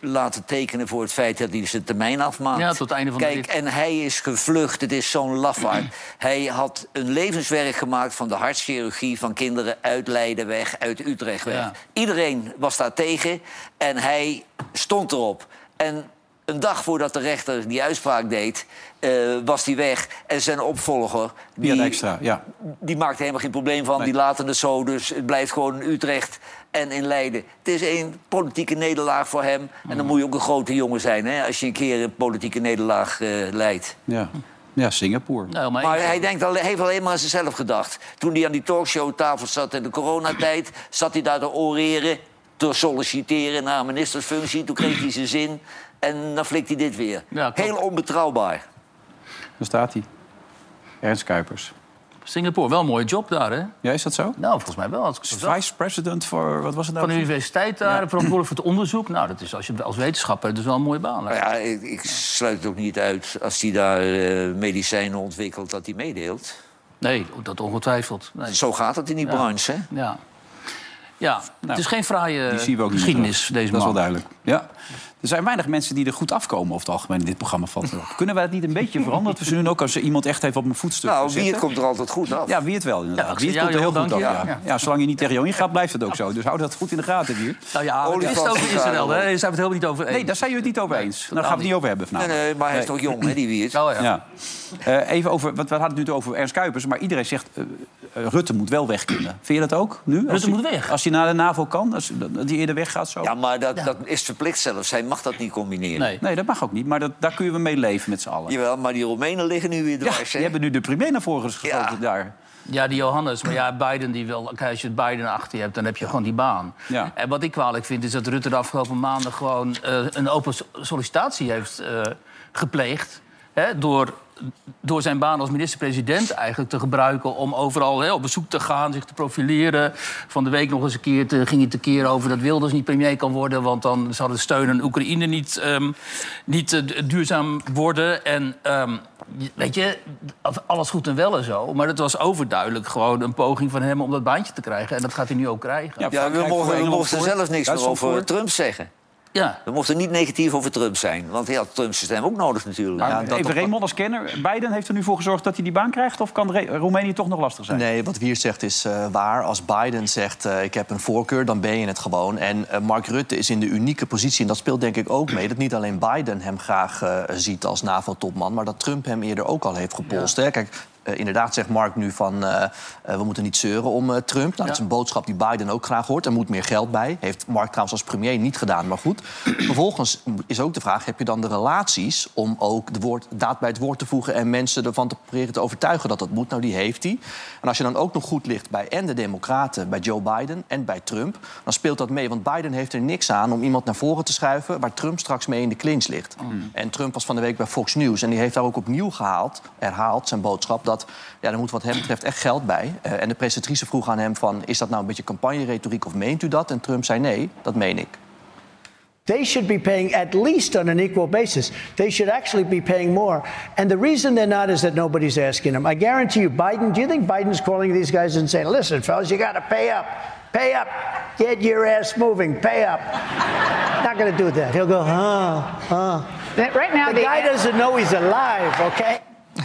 [SPEAKER 4] Laten tekenen voor het feit dat hij zijn termijn afmaakt.
[SPEAKER 7] Ja, tot het einde van de
[SPEAKER 4] Kijk,
[SPEAKER 7] rit.
[SPEAKER 4] en hij is gevlucht. Het is zo'n
[SPEAKER 7] [CLEARS THROAT]
[SPEAKER 4] lafaard. hij had een levenswerk gemaakt van de hartchirurgie van kinderen uit Leiden weg, uit Utrecht weg.
[SPEAKER 7] Ja.
[SPEAKER 4] Iedereen was daar tegen en hij stond erop. En een dag voordat de rechter die uitspraak deed, eh, was hij weg. En zijn opvolger,
[SPEAKER 1] Via
[SPEAKER 4] die-
[SPEAKER 1] extra, ja.
[SPEAKER 4] die maakt er helemaal geen probleem van. Die laten het zo. Dus het blijft gewoon in Utrecht en in Leiden. Het is één politieke nederlaag voor hem. En dan moet je ook een grote jongen zijn hè, als je een keer een politieke nederlaag eh, leidt.
[SPEAKER 1] Ja, ja Singapore.
[SPEAKER 7] Nou, maar
[SPEAKER 4] Maar
[SPEAKER 7] ik-
[SPEAKER 4] hij denkt al, heeft alleen maar aan zichzelf gedacht. Toen hij aan die talkshowtafel zat in de coronatijd, zat hij daar te oreren, te solliciteren naar een ministersfunctie. Toen kreeg hij zijn zin en dan flikt hij dit weer.
[SPEAKER 7] Ja, klopt.
[SPEAKER 4] Heel onbetrouwbaar.
[SPEAKER 1] Daar staat hij. Ernst Kuipers.
[SPEAKER 7] Singapore, wel een mooie job daar, hè?
[SPEAKER 1] Ja, is dat zo?
[SPEAKER 7] Nou, volgens mij wel. Als ik zo zag.
[SPEAKER 1] Vice president voor, wat was het
[SPEAKER 7] Van de
[SPEAKER 1] nou?
[SPEAKER 7] universiteit daar, verantwoordelijk voor het onderzoek. Nou, dat is als, je, als wetenschapper dus wel een mooie baan.
[SPEAKER 4] Nou ja, ik, ik sluit het ook niet uit als hij daar eh, medicijnen ontwikkelt dat hij meedeelt.
[SPEAKER 7] Nee, dat ongetwijfeld. Nee.
[SPEAKER 4] Zo gaat het in die branche. Hè?
[SPEAKER 7] Ja. Ja, het is geen fraaie
[SPEAKER 1] Nou, Die zien we ook niet
[SPEAKER 7] geschiedenis,
[SPEAKER 1] terug.
[SPEAKER 7] deze
[SPEAKER 1] Dat is
[SPEAKER 7] man.
[SPEAKER 1] wel duidelijk. Ja. Er zijn weinig mensen die er goed afkomen over het algemeen in dit programma van vandaag. Kunnen wij dat niet een beetje veranderen? Dat we ze nu ook als er iemand echt heeft op mijn voetstuk
[SPEAKER 4] Nou,
[SPEAKER 1] zetten?
[SPEAKER 4] wie het komt er altijd goed Nou, af.
[SPEAKER 1] Ja, wie het wel inderdaad.
[SPEAKER 4] Ja, ik
[SPEAKER 1] wie het
[SPEAKER 4] zeg,
[SPEAKER 1] komt er
[SPEAKER 4] ja,
[SPEAKER 1] heel
[SPEAKER 4] joh,
[SPEAKER 1] goed af.
[SPEAKER 4] dank je.
[SPEAKER 1] Ja.
[SPEAKER 4] Ja.
[SPEAKER 1] Ja, zolang je niet tegen jou ingaat, blijft het ook zo. Dus hou dat goed in de gaten hier.
[SPEAKER 7] Nou ja, het is het over Israël, hè? Daar zijn we het helemaal niet over eens.
[SPEAKER 1] Nee, daar zijn jullie het niet over eens. Daar gaan we het niet over hebben vanavond.
[SPEAKER 4] Nee, nee, maar hij is nog jong, hè, die Wiert.
[SPEAKER 7] Oh, ja.
[SPEAKER 1] Ja. Eh, even over, want we hadden het nu over Ernst Kuipers, maar iedereen zegt eh, eh, Rutte moet wel weg kunnen. Vind je dat ook nu? Als hij-
[SPEAKER 7] moet weg.
[SPEAKER 1] Als hij naar de NAVO kan, als dat hij eerder weggaat zo.
[SPEAKER 4] Ja, maar dat, dat is verplicht zelfs. Hij mag dat niet combineren.
[SPEAKER 7] Nee.
[SPEAKER 1] Nee, dat mag ook niet, maar dat, daar kun je mee leven met z'n allen.
[SPEAKER 4] Jawel, maar die Roemenen liggen nu weer
[SPEAKER 1] Ja,
[SPEAKER 4] dwars,
[SPEAKER 1] die
[SPEAKER 4] hè?
[SPEAKER 1] hebben nu de premier naar voren geschoten
[SPEAKER 4] Ja.
[SPEAKER 1] daar.
[SPEAKER 7] Ja, die Johannes. Maar ja, Biden die wil. Kijk, als je Biden achter je hebt, dan heb je gewoon die baan.
[SPEAKER 1] Ja.
[SPEAKER 7] En wat ik kwalijk vind, is dat Rutte de afgelopen maanden gewoon eh, een open so- sollicitatie heeft eh, gepleegd. Hè, door, door zijn baan als minister-president eigenlijk te gebruiken om overal hè, op bezoek te gaan, zich te profileren. Van de week nog eens een keer te, ging hij te keer over dat Wilders niet premier kan worden, want dan zou de steun aan Oekraïne niet, ehm, niet eh, du- duurzaam worden. En ehm, je- Weet je, alles goed en wel en zo. Maar het was overduidelijk gewoon een poging van hem om dat baantje te krijgen. En dat gaat hij nu ook krijgen. Ja,
[SPEAKER 4] Ja, we
[SPEAKER 1] Frankrijk voor,
[SPEAKER 4] mochten, we
[SPEAKER 1] Engeland
[SPEAKER 4] mochten
[SPEAKER 1] voor,
[SPEAKER 4] zelf niks meer
[SPEAKER 1] Duitsland
[SPEAKER 4] over
[SPEAKER 1] voor.
[SPEAKER 4] Trump zeggen.
[SPEAKER 7] ja.
[SPEAKER 4] We mochten niet negatief over Trump zijn. Want hij had Trumps stem ook nodig natuurlijk.
[SPEAKER 1] Maar even Raymond als kenner. Biden heeft er nu voor gezorgd dat hij die baan krijgt? Of kan Re- Roemenië toch nog lastig zijn?
[SPEAKER 2] Nee, wat Wier zegt is eh, waar. Als Biden zegt, eh, ik heb een voorkeur, dan ben je het gewoon. En eh, Mark Rutte is in de unieke positie, en dat speelt denk ik ook mee... dat niet alleen Biden hem graag eh, ziet als NAVO-topman... maar dat Trump hem eerder ook al heeft gepolst. Hè? Kijk, eh, inderdaad zegt Mark nu van, eh, eh, we moeten niet zeuren om eh, Trump. Nou, Dat is een boodschap die Biden ook graag hoort. Er moet meer geld bij. Heeft Mark trouwens als premier niet gedaan, maar goed. Vervolgens is ook de vraag, heb je dan de relaties... om ook de woord, daad bij het woord te voegen... en mensen ervan te proberen te overtuigen dat dat moet? Nou, die heeft hij. En als je dan ook nog goed ligt bij en de Democraten, bij Joe Biden en bij Trump, dan speelt dat mee. Want Biden heeft er niks aan om iemand naar voren te schuiven waar Trump straks mee in de clinch ligt. En Trump was van de week bij Fox News en die heeft daar ook opnieuw gehaald, herhaald zijn boodschap dat ja, er moet wat hem betreft echt geld bij. Eh, en de presentatrice vroeg aan hem van is dat nou een beetje campagneretoriek of meent u dat? En Trump zei nee, dat meen ik.
[SPEAKER 12] They should be paying at least on an equal basis. They should actually be paying more. And the reason they're not is that nobody's asking them. I guarantee you, Biden, do you think Biden's calling these guys and saying, listen, fellas, you got to pay up, pay up, get your ass moving, pay up? [LAUGHS] not going to do that. He'll go, huh, huh.
[SPEAKER 11] Right now,
[SPEAKER 12] the
[SPEAKER 11] the-
[SPEAKER 12] guy doesn't know he's alive, okay?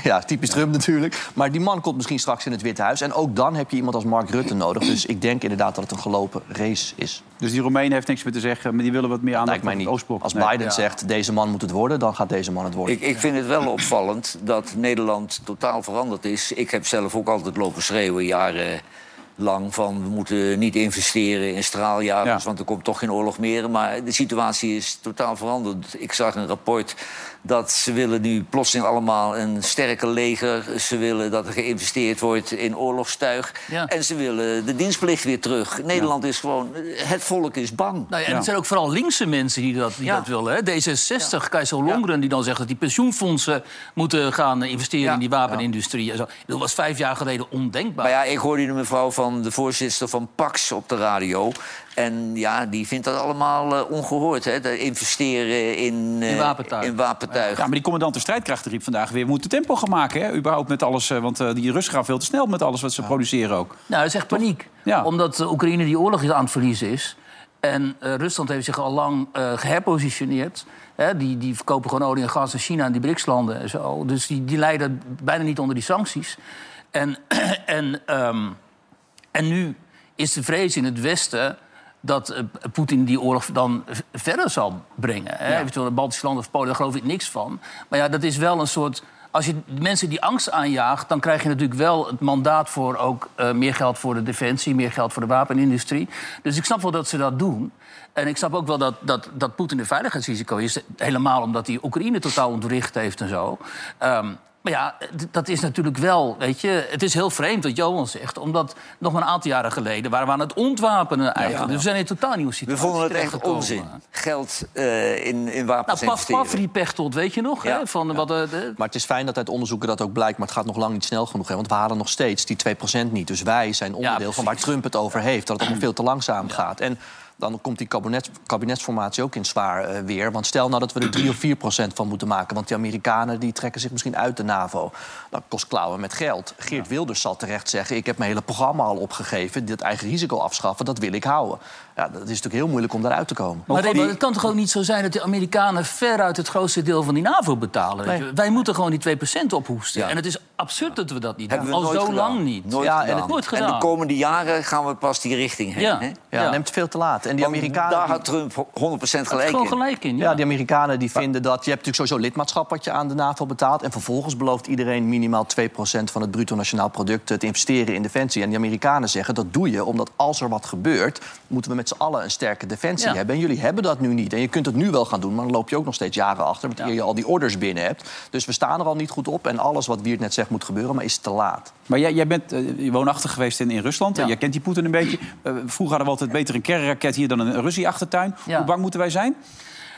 [SPEAKER 2] Ja, typisch Trump natuurlijk. Maar die man komt misschien straks in het Witte Huis. En ook dan heb je iemand als Mark Rutte nodig. Dus ik denk inderdaad dat het een gelopen race is.
[SPEAKER 1] Dus die Roemenen heeft niks meer te zeggen, maar die willen wat meer aandacht
[SPEAKER 2] Lijkt mij
[SPEAKER 1] op het
[SPEAKER 2] niet.
[SPEAKER 1] Oostblok.
[SPEAKER 2] Als
[SPEAKER 1] Nee.
[SPEAKER 2] Biden
[SPEAKER 1] Ja.
[SPEAKER 2] zegt, deze man moet het worden, dan gaat deze man het worden.
[SPEAKER 4] Ik, ik vind het wel opvallend dat Nederland totaal veranderd is. Ik heb zelf ook altijd lopen schreeuwen jarenlang van... we moeten niet investeren in straaljagers, want er komt toch geen oorlog meer. Maar de situatie is totaal veranderd. Ik zag een rapport dat ze willen nu plotseling allemaal een sterke leger. Ze willen dat er geïnvesteerd wordt in oorlogstuig.
[SPEAKER 7] Ja.
[SPEAKER 4] En ze willen de dienstplicht weer terug. Nederland is gewoon... Het volk is bang.
[SPEAKER 7] Nou ja, en het zijn ook vooral linkse mensen die dat, die dat willen. Hè? D66, Keizer Longren, die dan zegt dat die pensioenfondsen moeten gaan investeren in die wapenindustrie. En zo. Dat was vijf jaar geleden ondenkbaar.
[SPEAKER 4] Maar ja, ik hoorde de mevrouw van de voorzitter van Pax op de radio. En ja, die vindt dat allemaal eh, ongehoord, hè? Dat investeren in, eh,
[SPEAKER 7] In wapentuig.
[SPEAKER 4] in wapentuig.
[SPEAKER 1] Ja, maar die commandant der strijdkrachten riep vandaag weer... we moeten tempo gaan maken, hè? überhaupt met alles. eh, Want eh, die Russen gaan veel te snel met alles wat ze produceren ook.
[SPEAKER 7] Nou, dat is echt paniek.
[SPEAKER 1] Ja.
[SPEAKER 7] Omdat eh, Oekraïne die oorlog aan het verliezen is. En eh, Rusland heeft zich al lang eh, geherpositioneerd. Hè, die, die verkopen gewoon olie en gas aan China en die BRICS-landen en zo. Dus die, die lijden bijna niet onder die sancties. En, [CLEARS THROAT] en, ehm, en nu is de vrees in het Westen dat eh, Poetin die oorlog dan v- verder zal brengen. Hè? Eventueel de Baltische landen of Polen, daar geloof ik niks van. Maar ja, dat is wel een soort... Als je mensen die angst aanjaagt, dan krijg je natuurlijk wel het mandaat voor ook eh, meer geld voor de defensie, meer geld voor de wapenindustrie. Dus ik snap wel dat ze dat doen. En ik snap ook wel dat, dat, dat Poetin een veiligheidsrisico is. Helemaal omdat hij Oekraïne totaal ontwricht heeft en zo. Ehm, maar ja, d- dat is natuurlijk wel, weet je... Het is heel vreemd wat Johan zegt, omdat nog maar een aantal jaren geleden... waren we aan het ontwapenen eigenlijk. Dus we zijn in een totaal nieuwe
[SPEAKER 4] We
[SPEAKER 7] situatie
[SPEAKER 4] vonden het echt
[SPEAKER 7] terechtgekomen.
[SPEAKER 4] onzin. Geld eh, in, in wapens
[SPEAKER 7] Nou, paf, paf,
[SPEAKER 4] investeren.
[SPEAKER 7] die pechtold, weet je nog? Hè? Van, Wat, eh, de-
[SPEAKER 2] Maar het is fijn dat uit onderzoeken dat ook blijkt. Maar het gaat nog lang niet snel genoeg. Hè? Want we halen nog steeds die 2% niet. Dus wij zijn onderdeel van waar Trump het over heeft. Dat het allemaal veel te langzaam gaat. En dan komt die kabinet, kabinetsformatie ook in zwaar eh, weer. Want stel nou dat we er 3 of 4 procent van moeten maken... want die Amerikanen die trekken zich misschien uit de NAVO. Dat kost klauwen met geld. Geert Wilders zal terecht zeggen... ik heb mijn hele programma al opgegeven, dit eigen risico afschaffen... dat wil ik houden. Ja, dat is natuurlijk heel moeilijk om daaruit te komen.
[SPEAKER 7] Maar Rebo, het kan toch ook niet zo zijn dat de Amerikanen veruit het grootste deel van die NAVO betalen? weet
[SPEAKER 2] Nee.
[SPEAKER 7] je? Wij moeten gewoon die 2% ophoesten. En het is absurd dat we dat niet
[SPEAKER 4] Hebben
[SPEAKER 7] doen.
[SPEAKER 4] we
[SPEAKER 7] Al
[SPEAKER 4] nooit
[SPEAKER 7] zo
[SPEAKER 4] gedaan.
[SPEAKER 7] lang niet.
[SPEAKER 4] Nooit
[SPEAKER 7] ja,
[SPEAKER 4] gedaan.
[SPEAKER 7] en het nooit
[SPEAKER 4] En de
[SPEAKER 7] gedaan.
[SPEAKER 4] komende jaren gaan we pas die richting heen.
[SPEAKER 7] Ja.
[SPEAKER 4] hè?
[SPEAKER 2] Ja, neemt veel te laat. En die Amerikanen...
[SPEAKER 4] Daar
[SPEAKER 2] die-
[SPEAKER 4] had Trump 100% gelijk
[SPEAKER 7] gewoon
[SPEAKER 4] in.
[SPEAKER 7] gelijk in.
[SPEAKER 2] Ja, die Amerikanen die vinden dat... je hebt natuurlijk sowieso lidmaatschap wat je aan de NAVO betaalt... en vervolgens belooft iedereen minimaal 2% van het bruto nationaal product... eh, te investeren in defensie. En die Amerikanen zeggen dat doe je omdat als er wat gebeurt... moeten we met z'n allen een sterke defensie
[SPEAKER 7] Ja.
[SPEAKER 2] hebben. En jullie hebben dat nu niet. En je kunt het nu wel gaan doen, maar dan loop je ook nog steeds jaren achter... want eer je al die orders binnen hebt. Dus we staan er al niet goed op. En alles wat Wiert net zegt moet gebeuren, maar is te laat.
[SPEAKER 1] Maar jij, jij bent eh, woonachtig geweest in, in Rusland. Jij kent die Poetin een beetje. Eh, vroeger hadden we altijd beter een kernraket hier dan een Russische achtertuin.
[SPEAKER 7] Ja.
[SPEAKER 1] Hoe bang moeten wij zijn?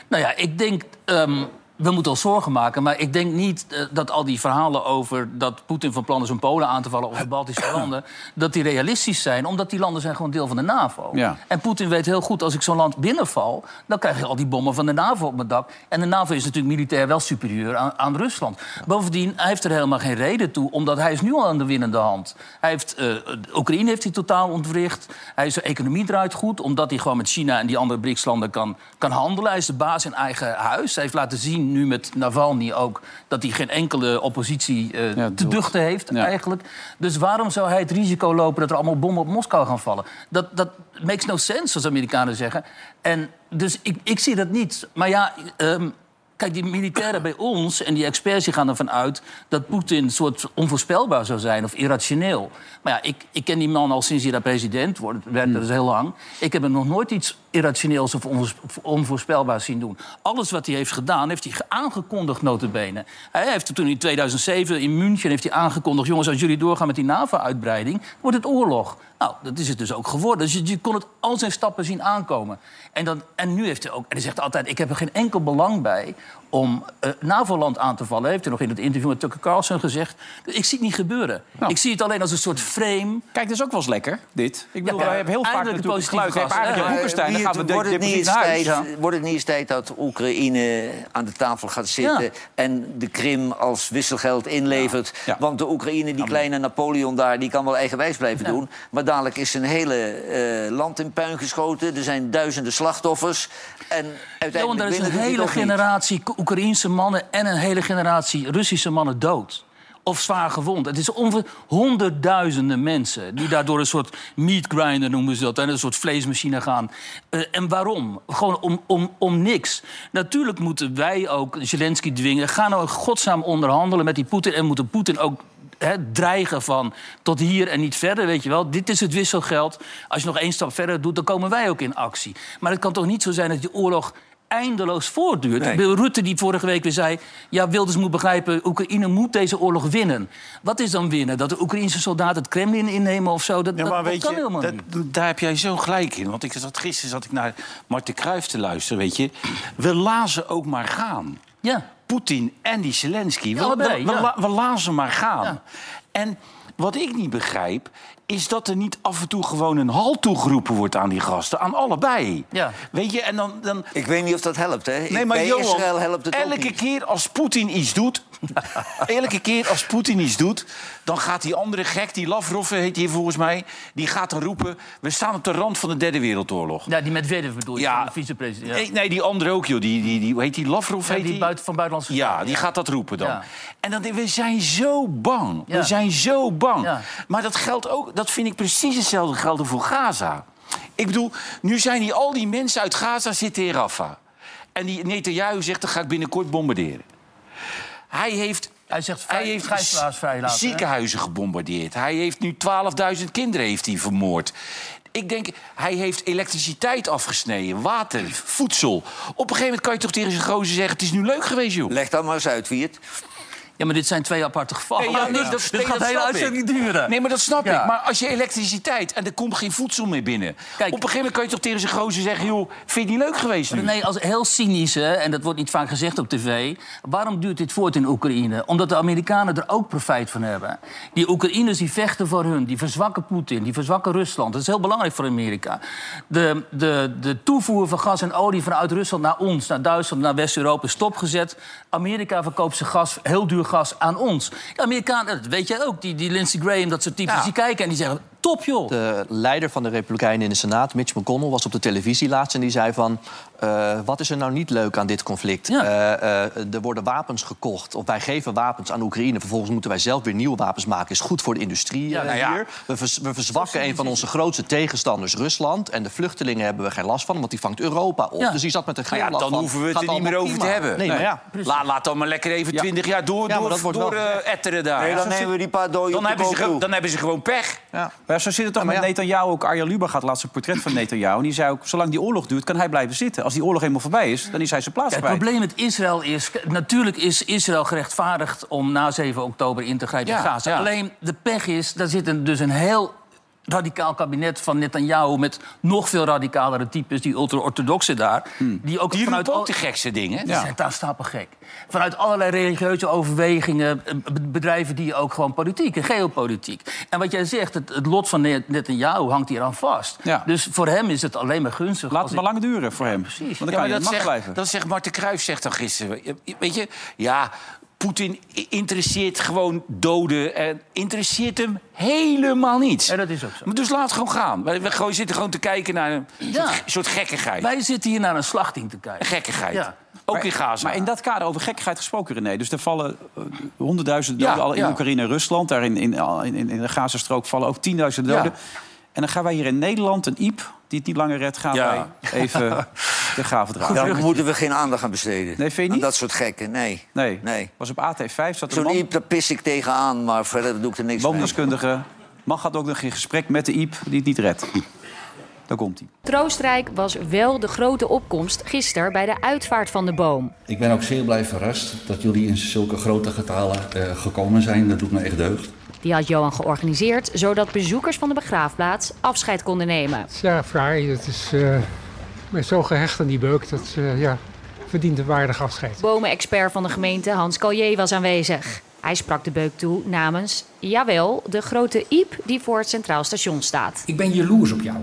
[SPEAKER 7] Nou ja, ik denk. ehm, we moeten ons zorgen maken, maar ik denk niet eh, dat al die verhalen over dat Poetin van plan is om Polen aan te vallen of de Baltische landen, dat die realistisch zijn, omdat die landen zijn gewoon deel van de NAVO.
[SPEAKER 1] Ja.
[SPEAKER 7] En Poetin weet heel goed, als ik zo'n land binnenval, dan krijg je al die bommen van de NAVO op mijn dak. En de NAVO is natuurlijk militair wel superieur aan, aan Rusland. Bovendien, hij heeft er helemaal geen reden toe, omdat hij is nu al aan de winnende hand. Hij heeft, eh, Oekraïne heeft hij totaal ontwricht. Hij zijn economie draait goed, omdat hij gewoon met China en die andere BRICS-landen kan, kan handelen. Hij is de baas in eigen huis. Hij heeft laten zien, nu met Navalny ook, dat hij geen enkele oppositie eh, te duchten heeft eigenlijk. Dus waarom zou hij het risico lopen dat er allemaal bommen op Moskou gaan vallen? Dat, dat makes no sense, zoals Amerikanen zeggen. En dus ik, ik zie dat niet. Maar ja, ehm, kijk, die militairen bij ons en die experts die gaan ervan uit... dat Poetin een soort onvoorspelbaar zou zijn of irrationeel. Maar ja, ik, ik ken die man al sinds hij daar president wordt, werd. Dat is heel lang. Ik heb hem nog nooit iets irrationeels of onvoors- onvoorspelbaars zien doen. Alles wat hij heeft gedaan, heeft hij ge- aangekondigd, notabene. Hij heeft toen in 2007 in München heeft hij aangekondigd... jongens, als jullie doorgaan met die NAVO-uitbreiding, wordt het oorlog. Nou, dat is het dus ook geworden. Dus je, je kon het al zijn stappen zien aankomen. En, dan, en nu heeft hij ook... En hij zegt altijd, ik heb er geen enkel belang bij om eh NAVO-land aan te vallen. Heeft hij nog in het interview met Tucker Carlson gezegd. Dus ik zie het niet gebeuren. Ik zie het alleen als een soort frame.
[SPEAKER 1] Kijk, dat is ook wel eens lekker, dit. Ik bedoel,
[SPEAKER 7] Ja,
[SPEAKER 1] wij hebben heel vaak
[SPEAKER 7] eindelijk een
[SPEAKER 1] natuurlijk
[SPEAKER 7] positieve
[SPEAKER 1] geluid.
[SPEAKER 7] gast.
[SPEAKER 1] eigenlijk
[SPEAKER 7] Ja,
[SPEAKER 1] een Hoekenstein, dan
[SPEAKER 4] Wiert,
[SPEAKER 1] gaan we de,
[SPEAKER 4] wordt, het niet
[SPEAKER 1] depressief
[SPEAKER 4] eens
[SPEAKER 1] naar huis.
[SPEAKER 4] tijd, wordt het niet eens tijd dat Oekraïne aan de tafel gaat zitten...
[SPEAKER 1] Ja.
[SPEAKER 4] en de Krim als wisselgeld inlevert?
[SPEAKER 1] Ja.
[SPEAKER 4] Want de Oekraïne, die kleine Napoleon daar... die kan wel eigenwijs blijven doen. Maar dadelijk is zijn hele eh, land in puin geschoten. Er zijn duizenden slachtoffers. En
[SPEAKER 7] Johan,
[SPEAKER 4] uiteindelijk
[SPEAKER 7] daar is
[SPEAKER 4] willen
[SPEAKER 7] een
[SPEAKER 4] die het
[SPEAKER 7] hele
[SPEAKER 4] ook niet.
[SPEAKER 7] generatie Oek- Oekraïense mannen en een hele generatie Russische mannen dood. Of zwaar gewond. Het is ongeveer honderdduizenden mensen die daardoor een soort meat grinder noemen ze dat. En een soort vleesmachine gaan. Eh, en waarom? Gewoon om, om, om niks. Natuurlijk moeten wij ook Zelensky dwingen. Ga nou in godsnaam onderhandelen met die Poetin. En moeten Poetin ook hè, dreigen van tot hier en niet verder, weet je wel. Dit is het wisselgeld. Als je nog één stap verder doet, dan komen wij ook in actie. Maar het kan toch niet zo zijn dat die oorlog eindeloos voortduurt.
[SPEAKER 1] Nee.
[SPEAKER 7] Ik bedoel, Rutte die vorige week weer zei... ja, Wilders moet begrijpen, Oekraïne moet deze oorlog winnen. Wat is dan winnen? Dat de Oekraïnse soldaten het Kremlin innemen of zo? Dat,
[SPEAKER 8] Ja,
[SPEAKER 7] dat-
[SPEAKER 8] maar
[SPEAKER 7] dat
[SPEAKER 8] weet
[SPEAKER 7] kan
[SPEAKER 8] je,
[SPEAKER 7] helemaal
[SPEAKER 8] dat-
[SPEAKER 7] niet.
[SPEAKER 8] daar heb jij zo gelijk in. Want ik zat, gisteren zat ik naar Marten Kruijf te luisteren, weet je. We lazen ook maar gaan.
[SPEAKER 7] Ja.
[SPEAKER 8] Poetin en die Zelensky. we,
[SPEAKER 7] allebei,
[SPEAKER 8] we- we
[SPEAKER 7] ja.
[SPEAKER 8] la- we lazen maar gaan. En wat ik niet begrijp, is dat er niet af en toe gewoon een halt toegeroepen wordt aan die gasten. Aan allebei.
[SPEAKER 7] Ja.
[SPEAKER 8] Weet je, en dan... dan
[SPEAKER 4] Ik weet niet of dat helpt, hè?
[SPEAKER 8] Nee, maar
[SPEAKER 4] Bij
[SPEAKER 8] Johan,
[SPEAKER 4] Israël helpt het ook
[SPEAKER 8] elke
[SPEAKER 4] niet.
[SPEAKER 8] keer als Poetin iets
[SPEAKER 4] [LAUGHS]
[SPEAKER 8] doet... elke keer als Poetin iets doet... dan gaat die andere gek, die Lavrov heet hij volgens mij... die gaat dan roepen... we staan op de rand van de derde wereldoorlog.
[SPEAKER 7] Ja, die Medvedev bedoel je,
[SPEAKER 8] Ja.
[SPEAKER 7] van de vicepresident.
[SPEAKER 8] Nee, nee, die andere ook, joh. Die, die, die, hoe heet die? Lavrov
[SPEAKER 7] Ja,
[SPEAKER 8] heet
[SPEAKER 7] die
[SPEAKER 8] die?
[SPEAKER 7] buiten, van buitenlandse
[SPEAKER 8] Ja, die gaat dat roepen dan.
[SPEAKER 7] Ja.
[SPEAKER 8] En dan, we zijn zo bang.
[SPEAKER 7] Ja.
[SPEAKER 8] We zijn zo bang.
[SPEAKER 7] Ja.
[SPEAKER 8] Maar dat geldt ook, dat vind ik precies hetzelfde gelden voor Gaza. Ik bedoel, nu zijn hier al die mensen uit Gaza zitten in Rafa. En die Netanyahu zegt, dan ga ik binnenkort bombarderen. Hij heeft...
[SPEAKER 7] Hij zegt,
[SPEAKER 8] Hij heeft
[SPEAKER 7] gijzelaars vrijlaten, hè?
[SPEAKER 8] ziekenhuizen gebombardeerd. Hij heeft nu 12.000 kinderen heeft hij vermoord. Ik denk, hij heeft elektriciteit afgesneden, water, voedsel. Op een gegeven moment kan je toch tegen zijn gozer zeggen... het is nu leuk geweest, joh.
[SPEAKER 4] Leg dat maar eens uit, Wiert.
[SPEAKER 7] Ja, maar dit zijn twee aparte gevallen.
[SPEAKER 8] Nee, ja, nee, dat- nee,
[SPEAKER 7] dit gaat
[SPEAKER 8] dat
[SPEAKER 7] de hele
[SPEAKER 8] snap
[SPEAKER 7] uitzending
[SPEAKER 8] ik.
[SPEAKER 7] duren.
[SPEAKER 8] Nee, maar dat snap
[SPEAKER 7] Ja.
[SPEAKER 8] ik. Maar als je elektriciteit en er komt geen voedsel meer binnen. op een gegeven moment kan je toch tegen zijn gozer zeggen... joh, vind je die leuk geweest nu? Nou
[SPEAKER 7] Nee, als heel cynisch, hè, en dat wordt niet vaak gezegd op tv... waarom duurt dit voort in Oekraïne? Omdat de Amerikanen er ook profijt van hebben. Die Oekraïners die vechten voor hun, die verzwakken Poetin... die verzwakken Rusland. Dat is heel belangrijk voor Amerika. De, de, de toevoer van gas en olie vanuit Rusland naar ons... naar Duitsland, naar West-Europa is stopgezet. Amerika verkoopt zijn gas, heel duur gas, aan ons. De Amerikanen, dat weet jij ook, die, die Lindsey Graham, dat soort types... die kijken en die zeggen, top joh.
[SPEAKER 2] De leider van de Republikeinen in de Senaat, Mitch McConnell, was op de televisie laatst en die zei van. eh, wat is er nou niet leuk aan dit conflict? Eh, eh, er worden wapens gekocht. Of wij geven wapens aan Oekraïne. Vervolgens moeten wij zelf weer nieuwe wapens maken. Is goed voor de industrie eh,
[SPEAKER 8] nou ja.
[SPEAKER 2] hier. We, vers- we verzwakken een van onze grootste tegenstanders, Rusland. En de vluchtelingen hebben we geen last van, want die vangt Europa op.
[SPEAKER 8] Ja.
[SPEAKER 2] Dus die zat met een
[SPEAKER 8] Nou
[SPEAKER 2] glimlach
[SPEAKER 8] ja, dan
[SPEAKER 2] van,
[SPEAKER 8] hoeven we het
[SPEAKER 2] gaat
[SPEAKER 8] er niet
[SPEAKER 2] allemaal
[SPEAKER 8] meer over te
[SPEAKER 2] prima.
[SPEAKER 8] hebben.
[SPEAKER 2] Nee, maar ja.
[SPEAKER 8] Laat, laat dan maar lekker even 20 jaar door,
[SPEAKER 2] Ja, maar dat
[SPEAKER 8] door,
[SPEAKER 2] wordt
[SPEAKER 8] door
[SPEAKER 2] wel
[SPEAKER 8] eh,
[SPEAKER 2] gezegd.
[SPEAKER 8] etteren daar.
[SPEAKER 4] Nee, dan
[SPEAKER 8] Zo
[SPEAKER 4] nemen
[SPEAKER 8] zit-
[SPEAKER 4] we die padooi op
[SPEAKER 8] dan
[SPEAKER 4] de
[SPEAKER 8] hebben, ze,
[SPEAKER 4] koop
[SPEAKER 8] ge-
[SPEAKER 4] toe.
[SPEAKER 8] dan hebben ze gewoon pech.
[SPEAKER 1] Maar zo zit het toch
[SPEAKER 2] Ja, maar
[SPEAKER 1] met
[SPEAKER 2] ja.
[SPEAKER 1] Netanyahu ook. Arjan Lubach had laatst een portret van Netanyahu. En die zei ook, zolang die oorlog duurt, kan hij blijven zitten. Als die oorlog eenmaal voorbij is, dan is hij zijn plaats
[SPEAKER 7] Ja, het
[SPEAKER 1] kwijt.
[SPEAKER 7] probleem met Israël is... k- Natuurlijk is Israël gerechtvaardigd om na 7 oktober in te grijpen in
[SPEAKER 8] Ja,
[SPEAKER 7] Gaza.
[SPEAKER 8] ja.
[SPEAKER 7] Alleen de pech is, daar zit een, dus een heel radicaal kabinet van Netanyahu... met nog veel radicalere types, die ultra-orthodoxen daar... Die ook
[SPEAKER 8] Hmm. Die
[SPEAKER 7] vanuit
[SPEAKER 8] roepen ook
[SPEAKER 7] al-
[SPEAKER 8] de gekste dingen.
[SPEAKER 7] Die zijn daar stapelgek. Vanuit allerlei religieuze overwegingen eh, b- bedrijven die ook gewoon politiek en geopolitiek. En wat jij zegt, het, het lot van Net- Netanyahu hangt hier aan vast.
[SPEAKER 1] Ja.
[SPEAKER 7] Dus voor hem is het alleen maar gunstig.
[SPEAKER 1] Laat
[SPEAKER 7] als
[SPEAKER 1] het maar lang duren voor hem. Want dan
[SPEAKER 8] Ja,
[SPEAKER 1] kan
[SPEAKER 8] maar
[SPEAKER 1] je
[SPEAKER 8] dat
[SPEAKER 1] mag
[SPEAKER 8] zegt,
[SPEAKER 1] blijven.
[SPEAKER 8] dat zegt Marten Kruijf zegt dan gisteren. Je- Weet je, ja, Poetin i- interesseert gewoon doden. En interesseert hem helemaal niets.
[SPEAKER 7] Ja, dat is ook zo.
[SPEAKER 8] Maar Dus laat gewoon gaan. We, we gewoon zitten gewoon te kijken naar een
[SPEAKER 7] Ja.
[SPEAKER 8] soort, soort gekkigheid.
[SPEAKER 7] Wij zitten hier naar een slachting te kijken.
[SPEAKER 8] Gekkigheid.
[SPEAKER 7] Ja.
[SPEAKER 8] Ook in Gaza.
[SPEAKER 1] Maar in dat kader over gekkigheid gesproken, René. Dus er vallen eh, honderdduizenden doden
[SPEAKER 8] Ja,
[SPEAKER 1] al in
[SPEAKER 8] ja.
[SPEAKER 1] Oekraïne en Rusland. Daar in, in, in, in de Gazastrook vallen ook tienduizenden
[SPEAKER 8] Ja.
[SPEAKER 1] doden. En dan gaan wij hier in Nederland, een Iep, die het niet langer redt... gaan
[SPEAKER 8] Ja.
[SPEAKER 1] wij even de graven dragen.
[SPEAKER 4] Daar moeten we geen aandacht aan besteden.
[SPEAKER 1] Nee, vind je
[SPEAKER 4] Aan
[SPEAKER 1] niet?
[SPEAKER 4] dat soort gekken, nee.
[SPEAKER 1] Nee.
[SPEAKER 4] nee.
[SPEAKER 1] was op AT5, zat een
[SPEAKER 4] Zo'n
[SPEAKER 1] man,
[SPEAKER 4] iep, daar pis ik tegenaan, maar verder doe ik er niks mee.
[SPEAKER 1] boomdeskundige. Man gaat ook nog in gesprek met de Iep die het niet redt. Daar komt hij.
[SPEAKER 13] Troostrijk was wel de grote opkomst gisteren bij de uitvaart van de boom.
[SPEAKER 14] Ik ben ook zeer blij verrast dat jullie in zulke grote getalen eh, gekomen zijn. Dat doet me echt deugd.
[SPEAKER 13] Die had Johan georganiseerd zodat bezoekers van de begraafplaats afscheid konden nemen.
[SPEAKER 15] Ja, fraai. Het is, eh, ik ben zo gehecht aan die beuk dat ze ja, verdient een waardig afscheid.
[SPEAKER 13] Bomenexpert van de gemeente Hans Collier was aanwezig. Hij sprak de beuk toe namens, jawel, de grote Iep die voor het Centraal Station staat.
[SPEAKER 16] Ik ben jaloers op jou.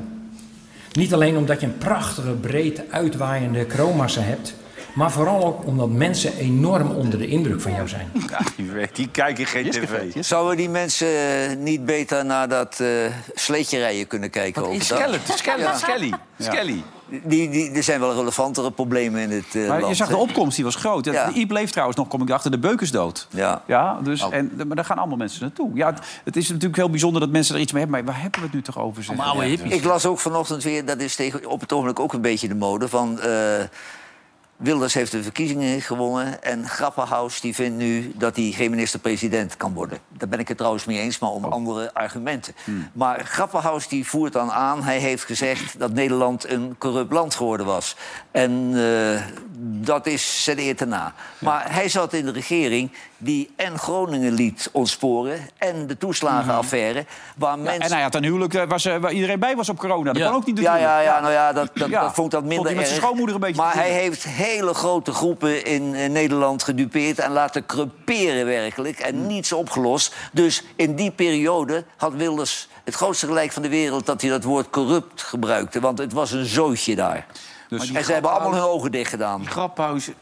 [SPEAKER 16] Niet alleen omdat je een prachtige, breed uitwaaiende kroonmassa hebt, maar vooral ook omdat mensen enorm onder de indruk van jou zijn.
[SPEAKER 8] Die kijken geen tv.
[SPEAKER 4] Zouden die mensen eh, niet beter naar dat eh sleetje rijden kunnen kijken
[SPEAKER 8] is
[SPEAKER 4] overdag?
[SPEAKER 8] Skelly? Skelly, Skelly, Skelly.
[SPEAKER 4] Die, die, er zijn wel relevantere problemen in het eh,
[SPEAKER 1] Maar
[SPEAKER 4] land.
[SPEAKER 1] je zag de
[SPEAKER 4] hè?
[SPEAKER 1] opkomst, die was groot. De Iep leeft trouwens nog, kom ik erachter, de beuk is dood.
[SPEAKER 4] Ja.
[SPEAKER 1] Ja, dus, en, maar daar gaan allemaal mensen naartoe. Ja, het, het is natuurlijk heel bijzonder dat mensen er iets mee hebben. Maar waar hebben we het nu toch over? zeg? Ja,
[SPEAKER 4] Ik las ook vanochtend weer, dat is tegen, op het ogenblik ook een beetje de mode... van eh, Wilders heeft de verkiezingen gewonnen... en Grapperhaus die vindt nu dat hij geen minister-president kan worden. Daar ben ik het trouwens mee eens, maar om andere argumenten. Maar Grapperhaus die voert dan aan... hij heeft gezegd dat Nederland een corrupt land geworden was. En eh, dat is zijn eer te na. Maar hij zat in de regering die en Groningen liet ontsporen... en de toeslagenaffaire, waar
[SPEAKER 1] Ja,
[SPEAKER 4] mensen...
[SPEAKER 1] en hij had een huwelijk eh, waar, ze, waar iedereen bij was op corona. Dat
[SPEAKER 4] Ja.
[SPEAKER 1] kan ook niet
[SPEAKER 4] Ja,
[SPEAKER 1] natuurlijk.
[SPEAKER 4] ja, ja, nou ja, dat, dat,
[SPEAKER 1] Ja,
[SPEAKER 4] dat vond ik dat
[SPEAKER 1] vond
[SPEAKER 4] minder
[SPEAKER 1] hij met zijn
[SPEAKER 4] erg.
[SPEAKER 1] schoonmoeder een beetje
[SPEAKER 4] maar
[SPEAKER 1] te
[SPEAKER 4] hij
[SPEAKER 1] doen.
[SPEAKER 4] heeft hele grote groepen in eh, Nederland gedupeerd... en laten creperen werkelijk en
[SPEAKER 1] Hmm.
[SPEAKER 4] niets opgelost. Dus in die periode had Wilders het grootste gelijk van de wereld... dat hij dat woord corrupt gebruikte, want het was een zootje daar.
[SPEAKER 1] Dus
[SPEAKER 8] Maar die
[SPEAKER 4] en ze hebben
[SPEAKER 8] graphuis-
[SPEAKER 4] allemaal hun ogen dicht gedaan.
[SPEAKER 8] Grappauze.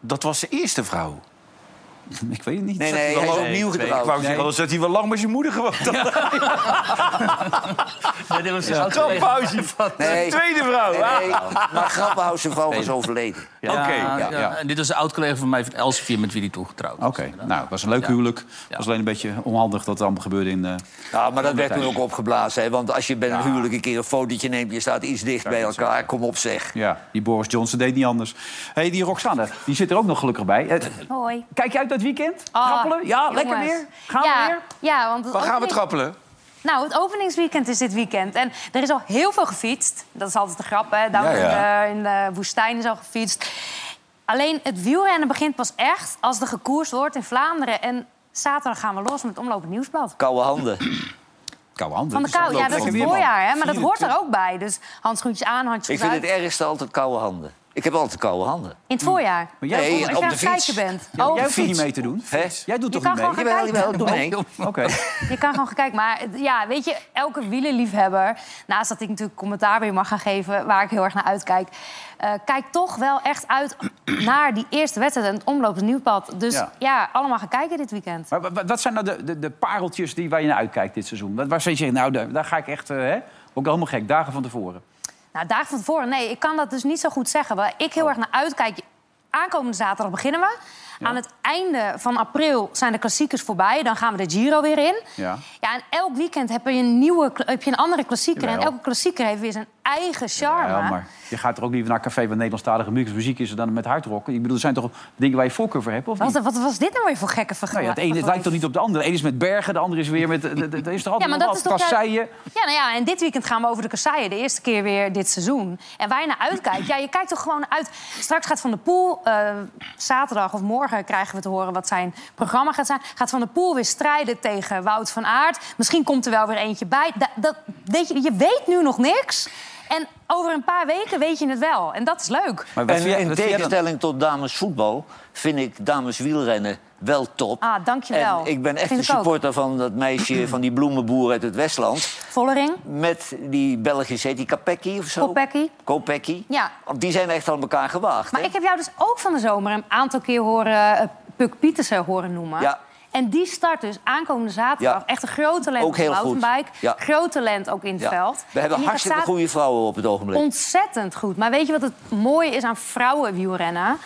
[SPEAKER 8] Dat was zijn eerste vrouw.
[SPEAKER 1] Ik weet het niet.
[SPEAKER 4] Nee, nee, hij is opnieuw getrouwd. Nee.
[SPEAKER 8] zat hij wel lang met zijn moeder gewoon.
[SPEAKER 7] dit was
[SPEAKER 8] een graphuisje van
[SPEAKER 4] Nee.
[SPEAKER 8] de tweede vrouw.
[SPEAKER 4] Nee,
[SPEAKER 1] Ah.
[SPEAKER 4] nee, maar Grappenhaus zijn vrouw was overleden.
[SPEAKER 7] Ja,
[SPEAKER 1] Oké,
[SPEAKER 7] Nou, ja,
[SPEAKER 1] ja, ja.
[SPEAKER 7] En dit was een oud-collega van mij van Elsevier met wie die toegetrouwd was.
[SPEAKER 1] Oké, nou, het was een leuk
[SPEAKER 7] Ja.
[SPEAKER 1] huwelijk. Het was alleen een beetje onhandig dat het allemaal gebeurde in... eh,
[SPEAKER 4] Ja, Nou, maar dat werd toen
[SPEAKER 1] tijd.
[SPEAKER 4] ook opgeblazen. Hè? Want als je bij een huwelijk een keer een fotootje neemt... je staat iets dicht bij elkaar, kom op zeg.
[SPEAKER 1] Ja, die Boris Johnson deed niet anders. hey, die Roxanne, die zit er ook nog gelukkig bij. Eh,
[SPEAKER 5] Hoi.
[SPEAKER 1] Kijk je uit dat weekend?
[SPEAKER 5] Ah,
[SPEAKER 1] Trappelen? Ja, lekker
[SPEAKER 5] jongens.
[SPEAKER 1] weer? Gaan
[SPEAKER 5] ja,
[SPEAKER 1] we weer?
[SPEAKER 5] Ja, want het
[SPEAKER 8] Waar gaan we
[SPEAKER 5] opening-
[SPEAKER 8] trappelen?
[SPEAKER 5] Nou, het openingsweekend is dit weekend. En er is al heel veel gefietst. Dat is altijd de grap, hè? Daar
[SPEAKER 8] Ja, ja.
[SPEAKER 5] eh, in de woestijn is al gefietst. Alleen het wielrennen begint pas echt als er gekoerst wordt in Vlaanderen. En zaterdag gaan we los met Omlopend Nieuwsblad.
[SPEAKER 4] Koude handen.
[SPEAKER 1] Koude handen?
[SPEAKER 5] Van de kou, ja, dat is het voorjaar, hè? maar dat hoort er ook bij. Dus handschoentjes aan,
[SPEAKER 4] Ik
[SPEAKER 5] handschoentjes
[SPEAKER 4] vind
[SPEAKER 5] uit.
[SPEAKER 4] het ergste altijd koude handen. Ik heb altijd koude handen.
[SPEAKER 5] In het voorjaar?
[SPEAKER 4] Maar jij Nee,
[SPEAKER 5] Als
[SPEAKER 4] op
[SPEAKER 5] je
[SPEAKER 4] de
[SPEAKER 5] aan het
[SPEAKER 4] fiets.
[SPEAKER 5] kijken bent.
[SPEAKER 4] Ja, jij
[SPEAKER 5] Oh, op
[SPEAKER 4] hoeft
[SPEAKER 5] de
[SPEAKER 4] hier
[SPEAKER 5] fiets.
[SPEAKER 4] niet mee te doen. Hè?
[SPEAKER 1] Jij doet
[SPEAKER 5] Je
[SPEAKER 1] toch
[SPEAKER 5] kan
[SPEAKER 1] niet
[SPEAKER 5] gewoon
[SPEAKER 1] mee?
[SPEAKER 5] gaan kijken.
[SPEAKER 1] Oké.
[SPEAKER 5] Je kan gewoon gaan kijken. Maar eh, ja, weet je, elke wielenliefhebber... naast dat ik natuurlijk commentaar weer mag gaan geven... waar ik heel erg naar uitkijk... eh kijkt toch wel echt uit [CLEARS THROAT] naar die eerste wedstrijd... en het omlopend nieuwpad. Dus
[SPEAKER 1] Ja.
[SPEAKER 5] ja. allemaal gaan kijken dit weekend.
[SPEAKER 1] Maar wa- wa- wat zijn nou de, de, de pareltjes die, waar je naar uitkijkt dit seizoen? Wat- Waar zou je zeggen, nou, daar, daar ga ik echt... eh, hè? Ook helemaal gek, dagen van tevoren.
[SPEAKER 5] Nou, dagen van tevoren, nee, ik kan dat dus niet zo goed zeggen. Waar ik
[SPEAKER 1] Oh.
[SPEAKER 5] heel erg naar uitkijk... aankomende zaterdag beginnen we... Aan het einde van april zijn de klassiekers voorbij. Dan gaan we de Giro weer in.
[SPEAKER 1] Ja.
[SPEAKER 5] Ja, en elk weekend heb je een, nieuwe, kla- heb je een andere klassieker. En
[SPEAKER 1] Jawel.
[SPEAKER 5] elke klassieker heeft weer zijn eigen charme.
[SPEAKER 1] Ja, maar je gaat er ook liever naar een café waar Nederlandstalige muziek, muziek is dan met hardrock. Ik bedoel, er zijn toch dingen waar je voorkeur voor hebt, of niet?
[SPEAKER 5] wat, wat was dit nou weer voor gekke
[SPEAKER 1] Hmm. Nou ja,
[SPEAKER 5] vergelijking?
[SPEAKER 1] het ene het lijkt toch niet op de andere. De ene is met bergen, de andere is weer met... de- de- de- Er is toch altijd nog wat
[SPEAKER 5] juist-
[SPEAKER 1] kasseien?
[SPEAKER 5] Ja, nou ja, en dit weekend gaan we over de kasseien. De eerste keer weer dit seizoen. En waar je naar uitkijkt. Ja, je kijkt toch gewoon uit. Straks gaat Van der Poel... eh, zaterdag of morgen krijgen we te horen wat zijn programma gaat zijn. Gaat Van der Poel weer strijden tegen Wout van Aert. Misschien komt er wel weer eentje bij. Dat, dat, weet je, je weet nu nog niks. En over een paar weken weet je het wel. En dat is leuk.
[SPEAKER 4] en in tegenstelling tot damesvoetbal vind ik dameswielrennen wel top.
[SPEAKER 5] Ah, dankjewel.
[SPEAKER 4] En ik ben echt
[SPEAKER 5] Vind
[SPEAKER 4] een
[SPEAKER 5] ik ook.
[SPEAKER 4] supporter van dat meisje van die bloemenboer uit het Westland.
[SPEAKER 5] Vollering,
[SPEAKER 4] Met die Belgische, heet die Capecchi of zo?
[SPEAKER 5] Kopecky.
[SPEAKER 4] Kopecky.
[SPEAKER 5] Ja,
[SPEAKER 4] Want die zijn echt aan elkaar gewaagd.
[SPEAKER 5] Maar ik heb jou dus ook van de zomer een aantal keer horen eh, Puk Pietersen horen noemen.
[SPEAKER 4] Ja.
[SPEAKER 5] En die start dus aankomende zaterdag.
[SPEAKER 4] Ja.
[SPEAKER 5] Echt een groot talent
[SPEAKER 4] Ook
[SPEAKER 5] op de
[SPEAKER 4] heel goed.
[SPEAKER 5] mountainbike.
[SPEAKER 4] Ja.
[SPEAKER 5] Groot talent ook in het
[SPEAKER 4] Ja.
[SPEAKER 5] veld.
[SPEAKER 4] We hebben
[SPEAKER 5] En die gaat
[SPEAKER 4] hartstikke
[SPEAKER 5] zaterdag
[SPEAKER 4] goede vrouwen op het ogenblik.
[SPEAKER 5] Ontzettend goed. Maar weet je wat het mooie is aan vrouwenwielrennen?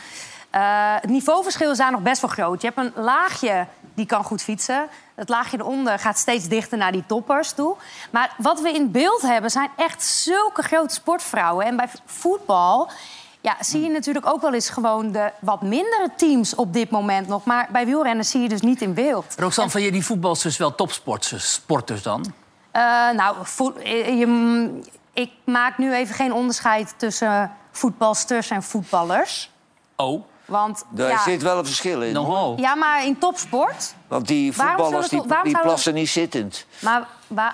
[SPEAKER 5] Eh het niveauverschil is daar nog best wel groot. Je hebt een laagje die kan goed fietsen. Het laagje eronder gaat steeds dichter naar die toppers toe. Maar wat we in beeld hebben zijn echt zulke grote sportvrouwen. En bij voetbal ja, zie je natuurlijk ook wel eens gewoon de wat mindere teams op dit moment nog. Maar bij wielrennen zie je dus niet in beeld.
[SPEAKER 7] Roxanne, van je die voetbalsters wel topsporters sporters dan?
[SPEAKER 5] Eh, nou, voet- eh, je- ik maak nu even geen onderscheid tussen voetbalsters en voetballers.
[SPEAKER 7] Oh.
[SPEAKER 5] Want,
[SPEAKER 4] Daar
[SPEAKER 5] ja,
[SPEAKER 4] zit wel een verschil in. hoor.
[SPEAKER 5] ja, maar in topsport...
[SPEAKER 4] Want die
[SPEAKER 5] Waarom
[SPEAKER 4] voetballers
[SPEAKER 5] zullen we-
[SPEAKER 4] die,
[SPEAKER 5] waarom
[SPEAKER 4] die
[SPEAKER 5] zouden we-
[SPEAKER 4] plassen niet zittend.
[SPEAKER 5] Maar, wa-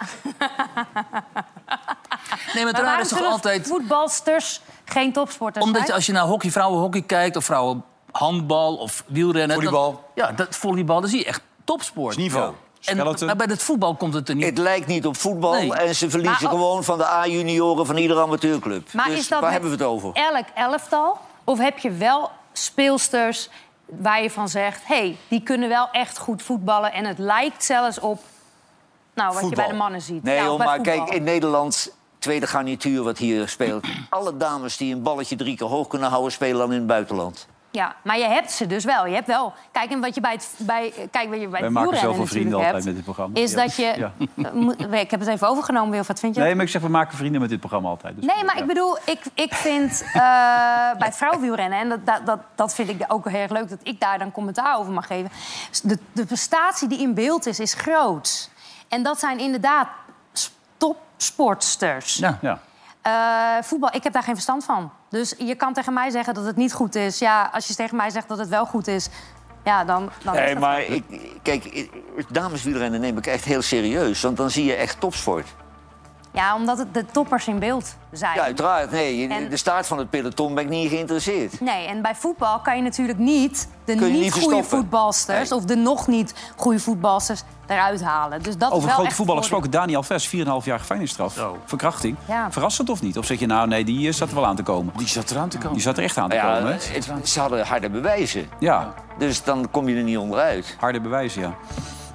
[SPEAKER 5] [LAUGHS]
[SPEAKER 7] Nee, maar
[SPEAKER 5] maar
[SPEAKER 7] het raar
[SPEAKER 5] waarom
[SPEAKER 7] is toch
[SPEAKER 5] zullen
[SPEAKER 7] altijd...
[SPEAKER 5] voetbalsters geen topsporters
[SPEAKER 7] Omdat je,
[SPEAKER 5] zijn?
[SPEAKER 7] als je naar hockey, vrouwenhockey kijkt... of vrouwen handbal of wielrennen...
[SPEAKER 1] Volleybal.
[SPEAKER 7] dan- ja, dat, volleybal, dan zie je echt topsport.
[SPEAKER 1] Niveau.
[SPEAKER 7] En,
[SPEAKER 4] Skeleton.
[SPEAKER 7] maar bij het voetbal komt het er niet.
[SPEAKER 4] Het lijkt niet op voetbal
[SPEAKER 7] Nee.
[SPEAKER 4] en ze verliezen
[SPEAKER 5] Maar ook-
[SPEAKER 4] gewoon van de A-junioren van iedere amateurclub.
[SPEAKER 5] Maar
[SPEAKER 4] dus
[SPEAKER 5] is
[SPEAKER 4] waar
[SPEAKER 5] dat met
[SPEAKER 4] hebben we het over?
[SPEAKER 5] elk elftal? Of heb je wel speelsters waar je van zegt... hé, hey, die kunnen wel echt goed voetballen en het lijkt zelfs op... Nou, wat je bij de mannen ziet.
[SPEAKER 4] Nee,
[SPEAKER 5] Ja, of
[SPEAKER 4] joh,
[SPEAKER 5] bij
[SPEAKER 4] maar
[SPEAKER 5] voetbal.
[SPEAKER 4] kijk, in Nederland, tweede garnituur wat hier speelt. [CLEARS THROAT] Alle dames die een balletje drie keer hoog kunnen houden, spelen dan in het buitenland.
[SPEAKER 5] Ja, maar je hebt ze dus wel. Je hebt wel. Kijk, en wat je bij het bij, kijk, wat je bij
[SPEAKER 4] Wij
[SPEAKER 5] het
[SPEAKER 4] maken
[SPEAKER 5] wielrennen
[SPEAKER 4] zoveel
[SPEAKER 5] natuurlijk
[SPEAKER 4] vrienden
[SPEAKER 5] hebt,
[SPEAKER 4] altijd met dit programma.
[SPEAKER 5] Is
[SPEAKER 1] Ja.
[SPEAKER 5] dat je.
[SPEAKER 1] Ja.
[SPEAKER 5] Eh, [LAUGHS] moet- Ik heb het even overgenomen, Wilfred. Vind je
[SPEAKER 1] Nee,
[SPEAKER 5] dat?
[SPEAKER 1] maar ik zeg, we maken vrienden met dit programma altijd. Dus
[SPEAKER 5] Nee, maar ik bedoel, ik, ik vind
[SPEAKER 4] [LAUGHS]
[SPEAKER 5] eh, bij het vrouwenwielrennen... en dat, dat, dat, dat vind ik ook heel erg leuk, dat ik daar dan commentaar over mag geven... de, de prestatie die in beeld is, is groot. En dat zijn inderdaad s- topsportsters.
[SPEAKER 7] Ja.
[SPEAKER 1] ja.
[SPEAKER 5] Eh, voetbal, ik heb daar geen verstand van. Dus je kan tegen mij zeggen dat het niet goed is. Ja, als je tegen mij zegt dat het wel goed is... Ja, dan, dan is
[SPEAKER 4] Nee,
[SPEAKER 5] dat
[SPEAKER 4] maar ik, kijk, ik- dameswielrennen neem ik echt heel serieus. Want dan zie je echt topsport.
[SPEAKER 5] Ja, omdat het de toppers in beeld zijn.
[SPEAKER 4] Ja, uiteraard. Nee, je-
[SPEAKER 5] En-
[SPEAKER 4] de staart van het peloton ben ik niet geïnteresseerd.
[SPEAKER 5] Nee, en bij voetbal kan je natuurlijk niet de
[SPEAKER 4] Kun je
[SPEAKER 5] niet
[SPEAKER 4] niet
[SPEAKER 5] goede
[SPEAKER 4] verstoppen.
[SPEAKER 5] voetbalsters... of de nog niet goede voetbalsters eruit halen. Dus dat is
[SPEAKER 1] Over
[SPEAKER 5] wel
[SPEAKER 1] grote
[SPEAKER 5] echt
[SPEAKER 1] voetballer
[SPEAKER 5] voordeel.
[SPEAKER 1] gesproken, Daniel Ves, 4,5 jaar gevangenisstraf. Verkrachting.
[SPEAKER 5] Ja.
[SPEAKER 1] Verrassend of niet? Of zeg je, nou nee, die eh, zat er wel aan te komen? Die zat er aan te komen. Die zat er echt aan te
[SPEAKER 4] Nou ja,
[SPEAKER 1] komen, hè?
[SPEAKER 4] het- ze hadden harde bewijzen.
[SPEAKER 1] Ja.
[SPEAKER 4] Dus dan kom je er niet onderuit.
[SPEAKER 1] Harde bewijzen, ja.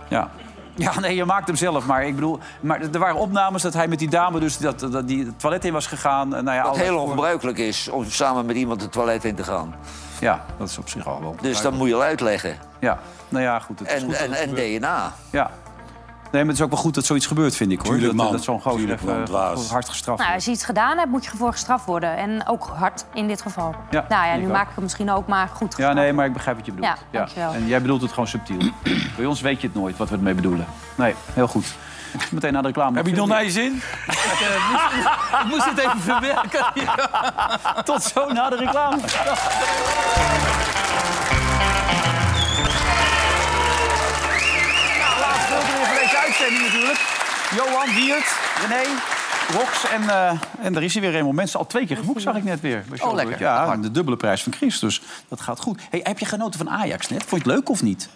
[SPEAKER 1] Ja. Ja, nee, je maakt hem zelf. Maar ik bedoel, maar er waren opnames dat hij met die dame dus dat, dat die het toilet in was gegaan. En Nou ja,
[SPEAKER 4] Wat
[SPEAKER 1] alles-
[SPEAKER 4] heel ongebruikelijk is om samen met iemand het toilet in te gaan.
[SPEAKER 1] Ja, dat is op zich al wel.
[SPEAKER 4] Dus dat moet je al uitleggen.
[SPEAKER 1] Ja, nou ja, goed. Het is
[SPEAKER 4] En,
[SPEAKER 1] goed dat
[SPEAKER 4] en,
[SPEAKER 1] het
[SPEAKER 4] en
[SPEAKER 1] gebeurt.
[SPEAKER 4] DNA.
[SPEAKER 1] Ja. Nee, maar het is ook wel goed dat zoiets gebeurt, vind ik, hoor.
[SPEAKER 17] Tuurlijk,
[SPEAKER 1] dat,
[SPEAKER 17] man.
[SPEAKER 1] dat zo'n gozer
[SPEAKER 17] Tuurlijk,
[SPEAKER 1] even eh,
[SPEAKER 17] man, dwaas.
[SPEAKER 1] hard gestraft
[SPEAKER 5] Nou,
[SPEAKER 1] wordt.
[SPEAKER 5] als je iets gedaan hebt, moet je ervoor gestraft worden. En ook hard in dit geval.
[SPEAKER 1] Ja,
[SPEAKER 5] nou ja,
[SPEAKER 1] vind
[SPEAKER 5] nu
[SPEAKER 1] ik ook.
[SPEAKER 5] maak ik het misschien ook, maar goed.
[SPEAKER 1] Ja, nee, maar ik begrijp wat je bedoelt.
[SPEAKER 5] Ja, dankjewel. [CLEARS THROAT]
[SPEAKER 1] En jij bedoelt het gewoon subtiel. Bij ons weet je het nooit wat we ermee bedoelen. Nee, heel goed. Meteen na de reclame.
[SPEAKER 8] Heb je het nog naar je zin?
[SPEAKER 6] Ik moest het even verwerken.
[SPEAKER 1] Tot zo na de reclame. Laatste filmpje van deze uitzending natuurlijk. Johan, Wiert, René, Rox en, eh, en daar is hij weer Raymond Mensen. Al twee keer geboekt, zag ik net weer. bij
[SPEAKER 5] Oh,
[SPEAKER 1] Showbiz.
[SPEAKER 2] lekker.
[SPEAKER 1] Ja, en de dubbele prijs van Chris, dus dat gaat goed. Hey, heb je genoten van Ajax net? Vond je het leuk of niet?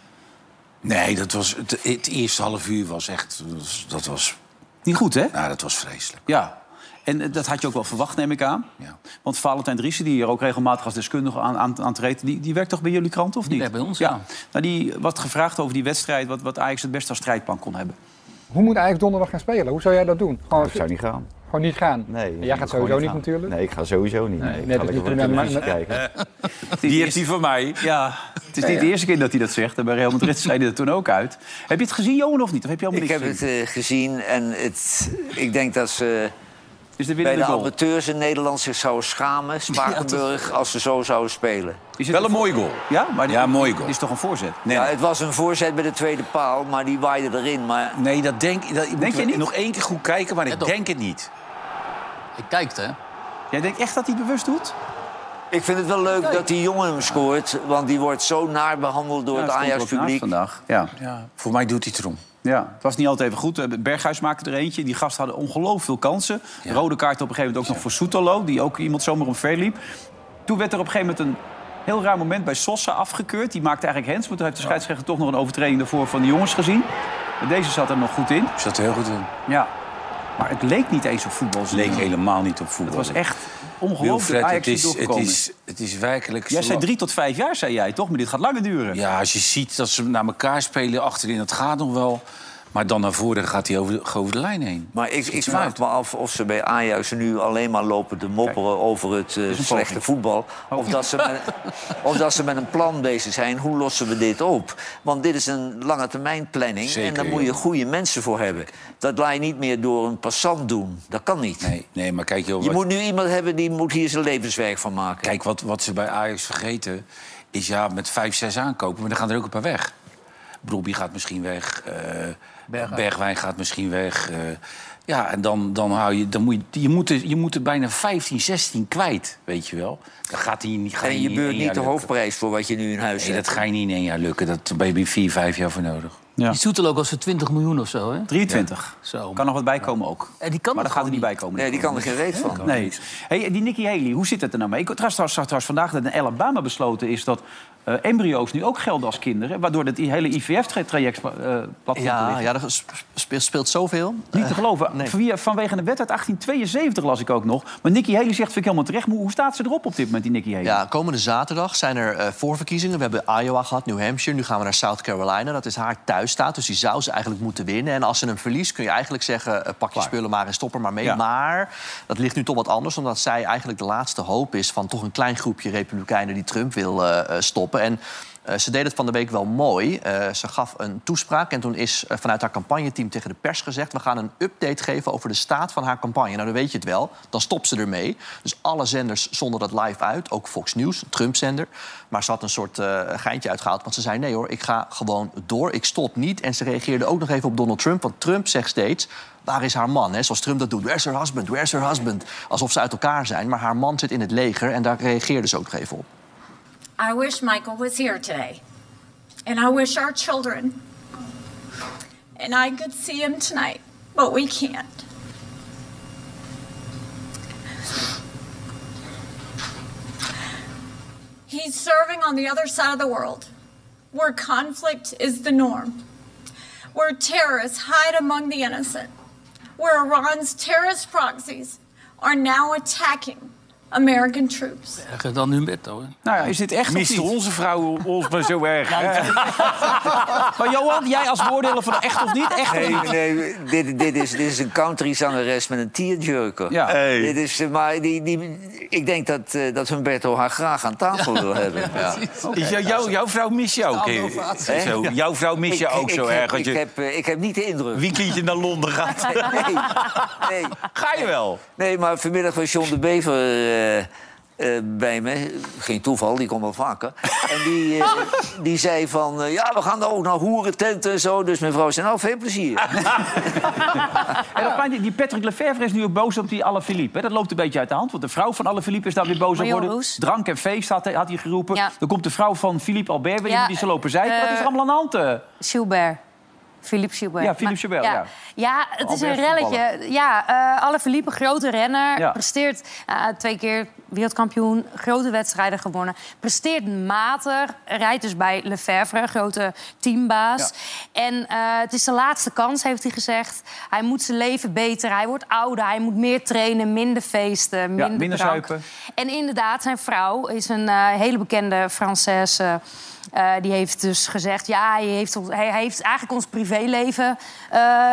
[SPEAKER 8] Nee, dat was, het, het eerste half uur was echt... dat was- Dat was...
[SPEAKER 1] Niet goed, hè?
[SPEAKER 8] Nou, dat was vreselijk.
[SPEAKER 1] Ja. En eh, dat had je ook wel verwacht, neem ik aan. Want Valentijn Driessen, die hier ook regelmatig als deskundige aan, aan, aan treedt... Die, die werkt toch bij jullie krant, of niet? Ja, bij ons, ja. Nou, die was gevraagd over die wedstrijd... wat, wat Ajax het beste als strijdplan kon hebben.
[SPEAKER 17] Hoe moet eigenlijk donderdag gaan spelen? Hoe zou jij dat doen? Gewoon,
[SPEAKER 18] Ik zou niet gaan.
[SPEAKER 17] gewoon niet gaan.
[SPEAKER 18] Nee.
[SPEAKER 17] jij gaat sowieso niet,
[SPEAKER 18] gaan.
[SPEAKER 17] natuurlijk.
[SPEAKER 18] Nee, ik ga sowieso niet. Nee, ik
[SPEAKER 17] nee,
[SPEAKER 18] ga
[SPEAKER 17] dat
[SPEAKER 18] lekker
[SPEAKER 17] is
[SPEAKER 18] wat
[SPEAKER 17] prima,
[SPEAKER 18] televisie
[SPEAKER 17] maar-
[SPEAKER 18] kijken.
[SPEAKER 1] Die heeft hij van mij. Ja, het is
[SPEAKER 4] Ja,
[SPEAKER 1] niet
[SPEAKER 4] ja.
[SPEAKER 1] de eerste keer dat hij dat zegt. En bij Real Madrid [LAUGHS] zei hij dat toen ook uit. Heb je het gezien, Johan, of niet? Of heb je helemaal
[SPEAKER 4] Ik
[SPEAKER 1] niks
[SPEAKER 4] heb het
[SPEAKER 1] gezien?
[SPEAKER 4] eh, gezien en het, ik denk dat ze
[SPEAKER 1] is de
[SPEAKER 4] bij de
[SPEAKER 1] winnende goal?
[SPEAKER 4] amateurs in Nederland zich zouden
[SPEAKER 1] [LAUGHS]
[SPEAKER 4] schamen, Spakenburg, als ze zo zouden spelen.
[SPEAKER 8] Wel een mooie goal.
[SPEAKER 1] Ja, maar
[SPEAKER 8] ja, mooie goal.
[SPEAKER 1] is toch een voorzet?
[SPEAKER 4] ja, het was een voorzet bij de tweede paal, maar die waaide erin. Maar...
[SPEAKER 8] Nee, dat denk, dat, ik
[SPEAKER 4] Denk je niet?
[SPEAKER 8] nog één keer goed kijken, maar ik denk het niet.
[SPEAKER 4] Ik kijk, hè?
[SPEAKER 1] Jij denkt echt dat hij het bewust doet?
[SPEAKER 4] Ik vind het wel leuk dat die jongen hem scoort, want die wordt zo naar behandeld door
[SPEAKER 1] Ja,
[SPEAKER 4] het
[SPEAKER 1] stond er ook naast
[SPEAKER 4] Ajax-publiek.
[SPEAKER 1] vandaag. Ja.
[SPEAKER 8] Voor mij doet hij het erom.
[SPEAKER 1] Ja, het was niet altijd even goed. Eh, Berghuis maakte er eentje. Die gasten hadden ongelooflijk veel kansen. Rode kaart op een gegeven moment ook nog voor Soetelo... die ook iemand zomaar omver liep. Toen werd er op een gegeven moment een heel raar moment bij Sosa afgekeurd. Die maakte eigenlijk hands, maar toen heeft de scheidsrechter toch nog een overtreding daarvoor van de jongens gezien. Maar deze zat er nog goed in.
[SPEAKER 8] Zat er heel goed in.
[SPEAKER 1] Ja, maar het leek niet eens op voetbal. Het
[SPEAKER 8] leek helemaal niet op voetbal.
[SPEAKER 1] Het was echt
[SPEAKER 8] Wilfred,
[SPEAKER 1] ongelooflijk dat Ajax
[SPEAKER 8] het, is, het,
[SPEAKER 1] doorgekomen
[SPEAKER 8] is, het is werkelijk...
[SPEAKER 1] Jij
[SPEAKER 8] zo-
[SPEAKER 1] zei drie tot vijf jaar, zei jij toch? Maar dit gaat langer duren.
[SPEAKER 8] Ja, als je ziet dat ze naar elkaar spelen achterin, dat gaat nog wel. Maar dan naar voren gaat hij over de, over de lijn heen.
[SPEAKER 4] Maar ik, ik vraag me af of ze bij Ajax nu alleen maar lopen te mopperen over het eh, slechte voetbal.
[SPEAKER 8] Oh.
[SPEAKER 4] Of, dat ze
[SPEAKER 8] [LAUGHS]
[SPEAKER 4] met, of dat ze met een plan bezig zijn. Hoe lossen we dit op? Want dit is een lange termijn planning. en daar moet je goede mensen voor hebben. Dat laat je niet meer door een passant doen. Dat kan niet.
[SPEAKER 8] Nee, maar kijk, joh,
[SPEAKER 4] Je
[SPEAKER 8] wat-
[SPEAKER 4] moet nu iemand hebben die moet hier zijn levenswerk van maken.
[SPEAKER 8] Kijk, wat, wat ze bij Ajax vergeten is ja, met vijf, zes aankopen, maar dan gaan er ook een paar weg. Brobbey gaat misschien weg, eh, Bergwijn. gaat misschien weg. eh, ja, en dan, dan hou je, dan moet je, je moet, er, je moet er bijna 15, 16 kwijt, weet je wel. Dan gaat hij niet.
[SPEAKER 4] En je beurt niet de hoofdprijs voor wat je nu in huis
[SPEAKER 8] hebt. Nee, dat ga je niet in één jaar lukken. Dat daar ben je vier, vijf jaar voor nodig.
[SPEAKER 1] Ja.
[SPEAKER 7] Die Soetel ook als voor 20 miljoen of zo, hè?
[SPEAKER 1] 23. Kan nog wat bijkomen ook. die kan maar daar gaat er niet bij komen.
[SPEAKER 4] Nee, die kan er geen reet van.
[SPEAKER 1] Nee. Hey, die Nikki Haley, hoe zit het er nou mee? Ik trouwens, trouwens, zag trouwens vandaag dat in Alabama besloten is dat eh, embryo's nu ook gelden als kinderen. Waardoor dat die hele IVF-traject platform
[SPEAKER 2] Ja,
[SPEAKER 1] eh, ligt.
[SPEAKER 2] ja, er sp- sp- speelt zoveel.
[SPEAKER 1] Niet te geloven. Via, vanwege een wet uit 1872 las ik ook nog. Maar Nikki Haley zegt, vind ik helemaal terecht. Maar Hoe, hoe staat ze erop op dit moment, die Nikki Haley?
[SPEAKER 2] Ja, komende zaterdag zijn er eh, voorverkiezingen. We hebben Iowa gehad, New Hampshire. Nu gaan we naar South Carolina. Dat is haar thuisstaat, dus die zou ze eigenlijk moeten winnen. En als ze hem verliest, kun je eigenlijk zeggen... eh, pak je spullen maar en stop er maar mee.
[SPEAKER 1] Ja.
[SPEAKER 2] Maar dat ligt nu toch wat anders... omdat zij eigenlijk de laatste hoop is... van toch een klein groepje republikeinen die Trump wil eh, eh, stoppen. En eh, ze deed het van de week wel mooi. Eh, ze gaf een toespraak en toen is eh, vanuit haar campagneteam tegen de pers gezegd... we gaan een update geven over de staat van haar campagne. Nou, dan weet je het wel. Dan stopt ze ermee. Dus alle zenders zonden dat live uit. Ook Fox News, een Trump-zender. Maar ze had een soort eh, geintje uitgehaald. Want ze zei, nee hoor, ik ga gewoon door. Ik stop niet. En ze reageerde ook nog even op Donald Trump. Want Trump zegt steeds... Waar is haar man? Hè? Zoals Trump dat doet. Where's her husband? Where's her husband? Alsof ze uit elkaar zijn. Maar haar man zit in het leger. En daar reageerde ze ook nog even op.
[SPEAKER 19] I wish Michael was here today. And I wish our children and I could see him tonight, but we can't. He's serving on the other side of the world, where conflict is the norm, where terrorists hide among the innocent, where Iran's terrorist proxies are now attacking American troops.
[SPEAKER 7] Erger dan nu met, hoor.
[SPEAKER 1] Nou ja, is dit echt of
[SPEAKER 7] Miste
[SPEAKER 1] niet?
[SPEAKER 8] onze vrouwen ons maar zo erg.
[SPEAKER 1] maar Johan, jij als beoordeler van echt of niet? Echt of
[SPEAKER 4] Nee,
[SPEAKER 1] niet?
[SPEAKER 4] nee dit, dit, is, dit is een countryzangeres met een tearjerker.
[SPEAKER 1] Ja. Hey.
[SPEAKER 4] Dit is, eh, maar die, die, ik denk dat, eh, dat Humberto haar graag aan tafel wil hebben. Ja.
[SPEAKER 8] Is jou- jou- jouw vrouw mist jou ook. eh,
[SPEAKER 4] Hè?
[SPEAKER 8] Zo, jouw vrouw mist je
[SPEAKER 4] Ik-
[SPEAKER 8] ook
[SPEAKER 4] ik
[SPEAKER 8] zo
[SPEAKER 4] heb-
[SPEAKER 8] erg. want
[SPEAKER 4] Ik
[SPEAKER 8] je-
[SPEAKER 4] heb, eh, ik heb niet de indruk.
[SPEAKER 8] Weekendje naar [LAUGHS] Londen gaat.
[SPEAKER 4] Nee, nee.
[SPEAKER 8] Ga je wel?
[SPEAKER 4] Nee, maar vanmiddag was John de Bever eh, eh, bij me. Geen toeval, die komt wel vaker. En die, [LAUGHS] eh, die zei van, eh, ja, we gaan dan ook naar hoerententen en zo. Dus mijn vrouw zei, nou, veel plezier.
[SPEAKER 1] En dat maakt niet- die Patrick Lefevre is nu ook boos op die Alaphilippe. hè. Dat loopt een beetje uit de hand. Want de vrouw van Alaphilippe is daar weer boos op
[SPEAKER 5] Marion
[SPEAKER 1] geworden.
[SPEAKER 5] Roes.
[SPEAKER 1] Drank en feest had hij, had hij geroepen.
[SPEAKER 5] Ja.
[SPEAKER 1] Dan komt de vrouw van Philippe Albert weer.
[SPEAKER 5] Ja,
[SPEAKER 1] die zal lopen zeiken. Wat is er
[SPEAKER 5] eh,
[SPEAKER 1] allemaal aan de hand? eh?
[SPEAKER 5] Gilbert. Philippe Gilbert.
[SPEAKER 1] Ja, Philippe Gilbert,
[SPEAKER 5] Maar-
[SPEAKER 1] ja.
[SPEAKER 5] Ja, het is een
[SPEAKER 1] Albert
[SPEAKER 5] relletje.
[SPEAKER 1] voetballer.
[SPEAKER 5] Ja, eh alle verliepen, grote renner.
[SPEAKER 1] Ja.
[SPEAKER 5] Presteert eh, twee keer wereldkampioen, grote wedstrijden gewonnen. Presteert matig, rijdt dus bij Lefebvre, grote teambaas. En eh, het is de laatste kans, heeft hij gezegd. Hij moet zijn leven beter, hij wordt ouder, hij moet meer trainen, minder feesten, minder,
[SPEAKER 1] ja, minder
[SPEAKER 5] drank.
[SPEAKER 1] zuipen.
[SPEAKER 5] En inderdaad, zijn vrouw is een eh, hele bekende Française. Eh, die heeft dus gezegd: ja, hij heeft, ons- hij, hij heeft eigenlijk ons privéleven. eh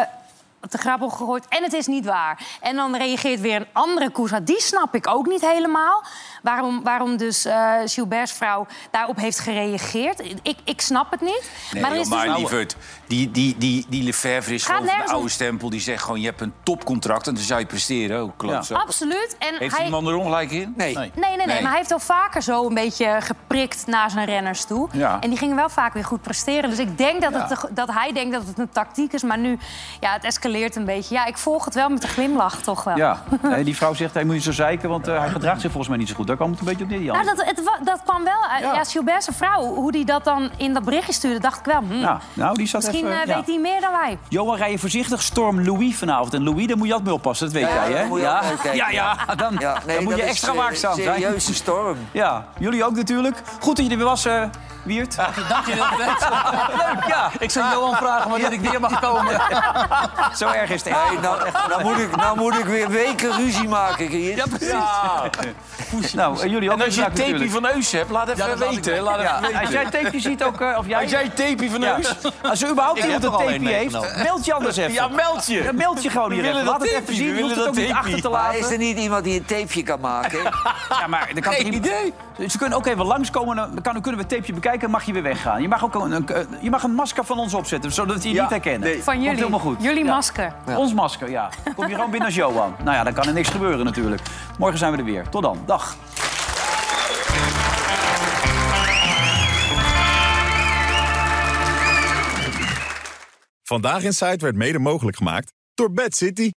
[SPEAKER 5] te grappel gegooid en het is niet waar. En dan reageert weer een andere Koesa. Die snap ik ook niet helemaal. Waarom, waarom dus eh Gilbert's vrouw daarop heeft gereageerd. Ik, ik snap het niet.
[SPEAKER 8] Nee,
[SPEAKER 5] er
[SPEAKER 8] maar,
[SPEAKER 5] is dus-
[SPEAKER 8] maar lieverd, die, die, die, die Lefebvre is
[SPEAKER 5] Gaat
[SPEAKER 8] gewoon van de
[SPEAKER 5] nergens om.
[SPEAKER 8] oude stempel. Die zegt gewoon, je hebt een topcontract en dan zou je presteren. Oh, klootzak.
[SPEAKER 5] Absoluut. En
[SPEAKER 8] Heeft
[SPEAKER 5] hij...
[SPEAKER 8] die man er ongelijk in?
[SPEAKER 5] Nee. Nee, nee, maar hij heeft al vaker zo een beetje geprikt naar zijn renners toe.
[SPEAKER 8] Ja.
[SPEAKER 5] En die gingen wel vaak weer goed presteren. Dus ik denk dat,
[SPEAKER 8] Ja.
[SPEAKER 5] het, dat hij denkt dat het een tactiek is. Maar nu, ja, het escaleert een beetje. Ja, ik volg het wel met een glimlach toch wel.
[SPEAKER 1] Ja, Nee, die vrouw zegt, hij moet niet zo zeiken, want eh, hij gedraagt zich volgens mij niet zo goed. Daar kwam het een beetje op neer, die
[SPEAKER 5] Nou,
[SPEAKER 1] andere.
[SPEAKER 5] dat, het, wa- dat kwam wel uit. Ja, Gilbert's vrouw, hoe die dat dan in dat berichtje stuurde, dacht ik wel. hm,
[SPEAKER 1] Ja, nou, die zat
[SPEAKER 5] Misschien
[SPEAKER 1] even,
[SPEAKER 5] eh,
[SPEAKER 1] ja.
[SPEAKER 5] weet hij meer dan wij.
[SPEAKER 1] Johan, rij je voorzij storm Louis vanavond. En Louis, daar moet je altijd mee oppassen, dat weet
[SPEAKER 4] Ja,
[SPEAKER 1] jij,
[SPEAKER 4] ja,
[SPEAKER 1] hè?
[SPEAKER 4] daar moet je
[SPEAKER 1] ja.
[SPEAKER 4] altijd mee kijken,
[SPEAKER 1] ja, ja,
[SPEAKER 4] ja.
[SPEAKER 1] dan,
[SPEAKER 4] Ja, nee,
[SPEAKER 1] dan moet je
[SPEAKER 4] dat is,
[SPEAKER 1] extra
[SPEAKER 4] eh,
[SPEAKER 1] waakzaam zijn.
[SPEAKER 4] serieuze storm.
[SPEAKER 1] Ja, jullie ook natuurlijk. Goed dat je er weer was, eh, Wiert.
[SPEAKER 6] Dank je wel.
[SPEAKER 1] [LAUGHS] Leuk, ja.
[SPEAKER 6] Ik zou Johan vragen wanneer ik weer mag komen.
[SPEAKER 1] [LAUGHS] Zo erg is het echt.
[SPEAKER 4] Nee, nou, nou, moet ik, nou moet ik weer weken ruzie maken, Geert. Ja, precies.
[SPEAKER 1] Nou, en jullie ook.
[SPEAKER 8] En als je een
[SPEAKER 1] bedankt
[SPEAKER 8] tapie
[SPEAKER 1] natuurlijk.
[SPEAKER 8] van Eus hebt, laat even
[SPEAKER 1] Ja, dat laat ik
[SPEAKER 8] weten.
[SPEAKER 1] weten.
[SPEAKER 8] Laat
[SPEAKER 1] Ja.
[SPEAKER 8] even weten.
[SPEAKER 1] Als jij een tapeje ziet ook, eh, of jij...
[SPEAKER 8] Als jij een tapie van
[SPEAKER 1] Ja.
[SPEAKER 8] Eus...
[SPEAKER 1] Als er überhaupt
[SPEAKER 8] Ik
[SPEAKER 1] iemand
[SPEAKER 8] heb
[SPEAKER 1] een
[SPEAKER 8] er al
[SPEAKER 1] tapie
[SPEAKER 8] één
[SPEAKER 1] heeft,
[SPEAKER 8] meegenomen.
[SPEAKER 1] meld je anders even.
[SPEAKER 8] Ja, meld je.
[SPEAKER 1] Ja, meld je gewoon
[SPEAKER 8] We
[SPEAKER 1] hier
[SPEAKER 8] willen
[SPEAKER 1] even.
[SPEAKER 8] dat
[SPEAKER 1] Laat het
[SPEAKER 8] tapie,
[SPEAKER 1] even zien,
[SPEAKER 8] we
[SPEAKER 1] je hoeft het
[SPEAKER 8] willen
[SPEAKER 1] ook
[SPEAKER 8] dat
[SPEAKER 1] niet
[SPEAKER 8] tapie.
[SPEAKER 1] achter te
[SPEAKER 4] Maar is er
[SPEAKER 1] laten.
[SPEAKER 4] niet iemand die een tapeje kan maken?
[SPEAKER 1] Ja, maar er kan
[SPEAKER 8] Geen
[SPEAKER 1] toch iemand- Ze kunnen ook even langskomen, dan kan, kunnen we het tapeje bekijken en mag je weer weggaan. Je mag ook een, een- je mag een masker van ons opzetten, zodat we je niet herkennen.
[SPEAKER 5] Van
[SPEAKER 1] Komt
[SPEAKER 5] jullie.
[SPEAKER 1] helemaal goed.
[SPEAKER 5] Jullie
[SPEAKER 1] Ja.
[SPEAKER 5] masker.
[SPEAKER 1] Ons masker, ja. Kom je gewoon binnen als Johan. Nou ja, dan kan er niks gebeuren natuurlijk. Morgen zijn we er weer. Tot dan. Dag.
[SPEAKER 3] Vandaag in Site werd mede mogelijk gemaakt door Bad City.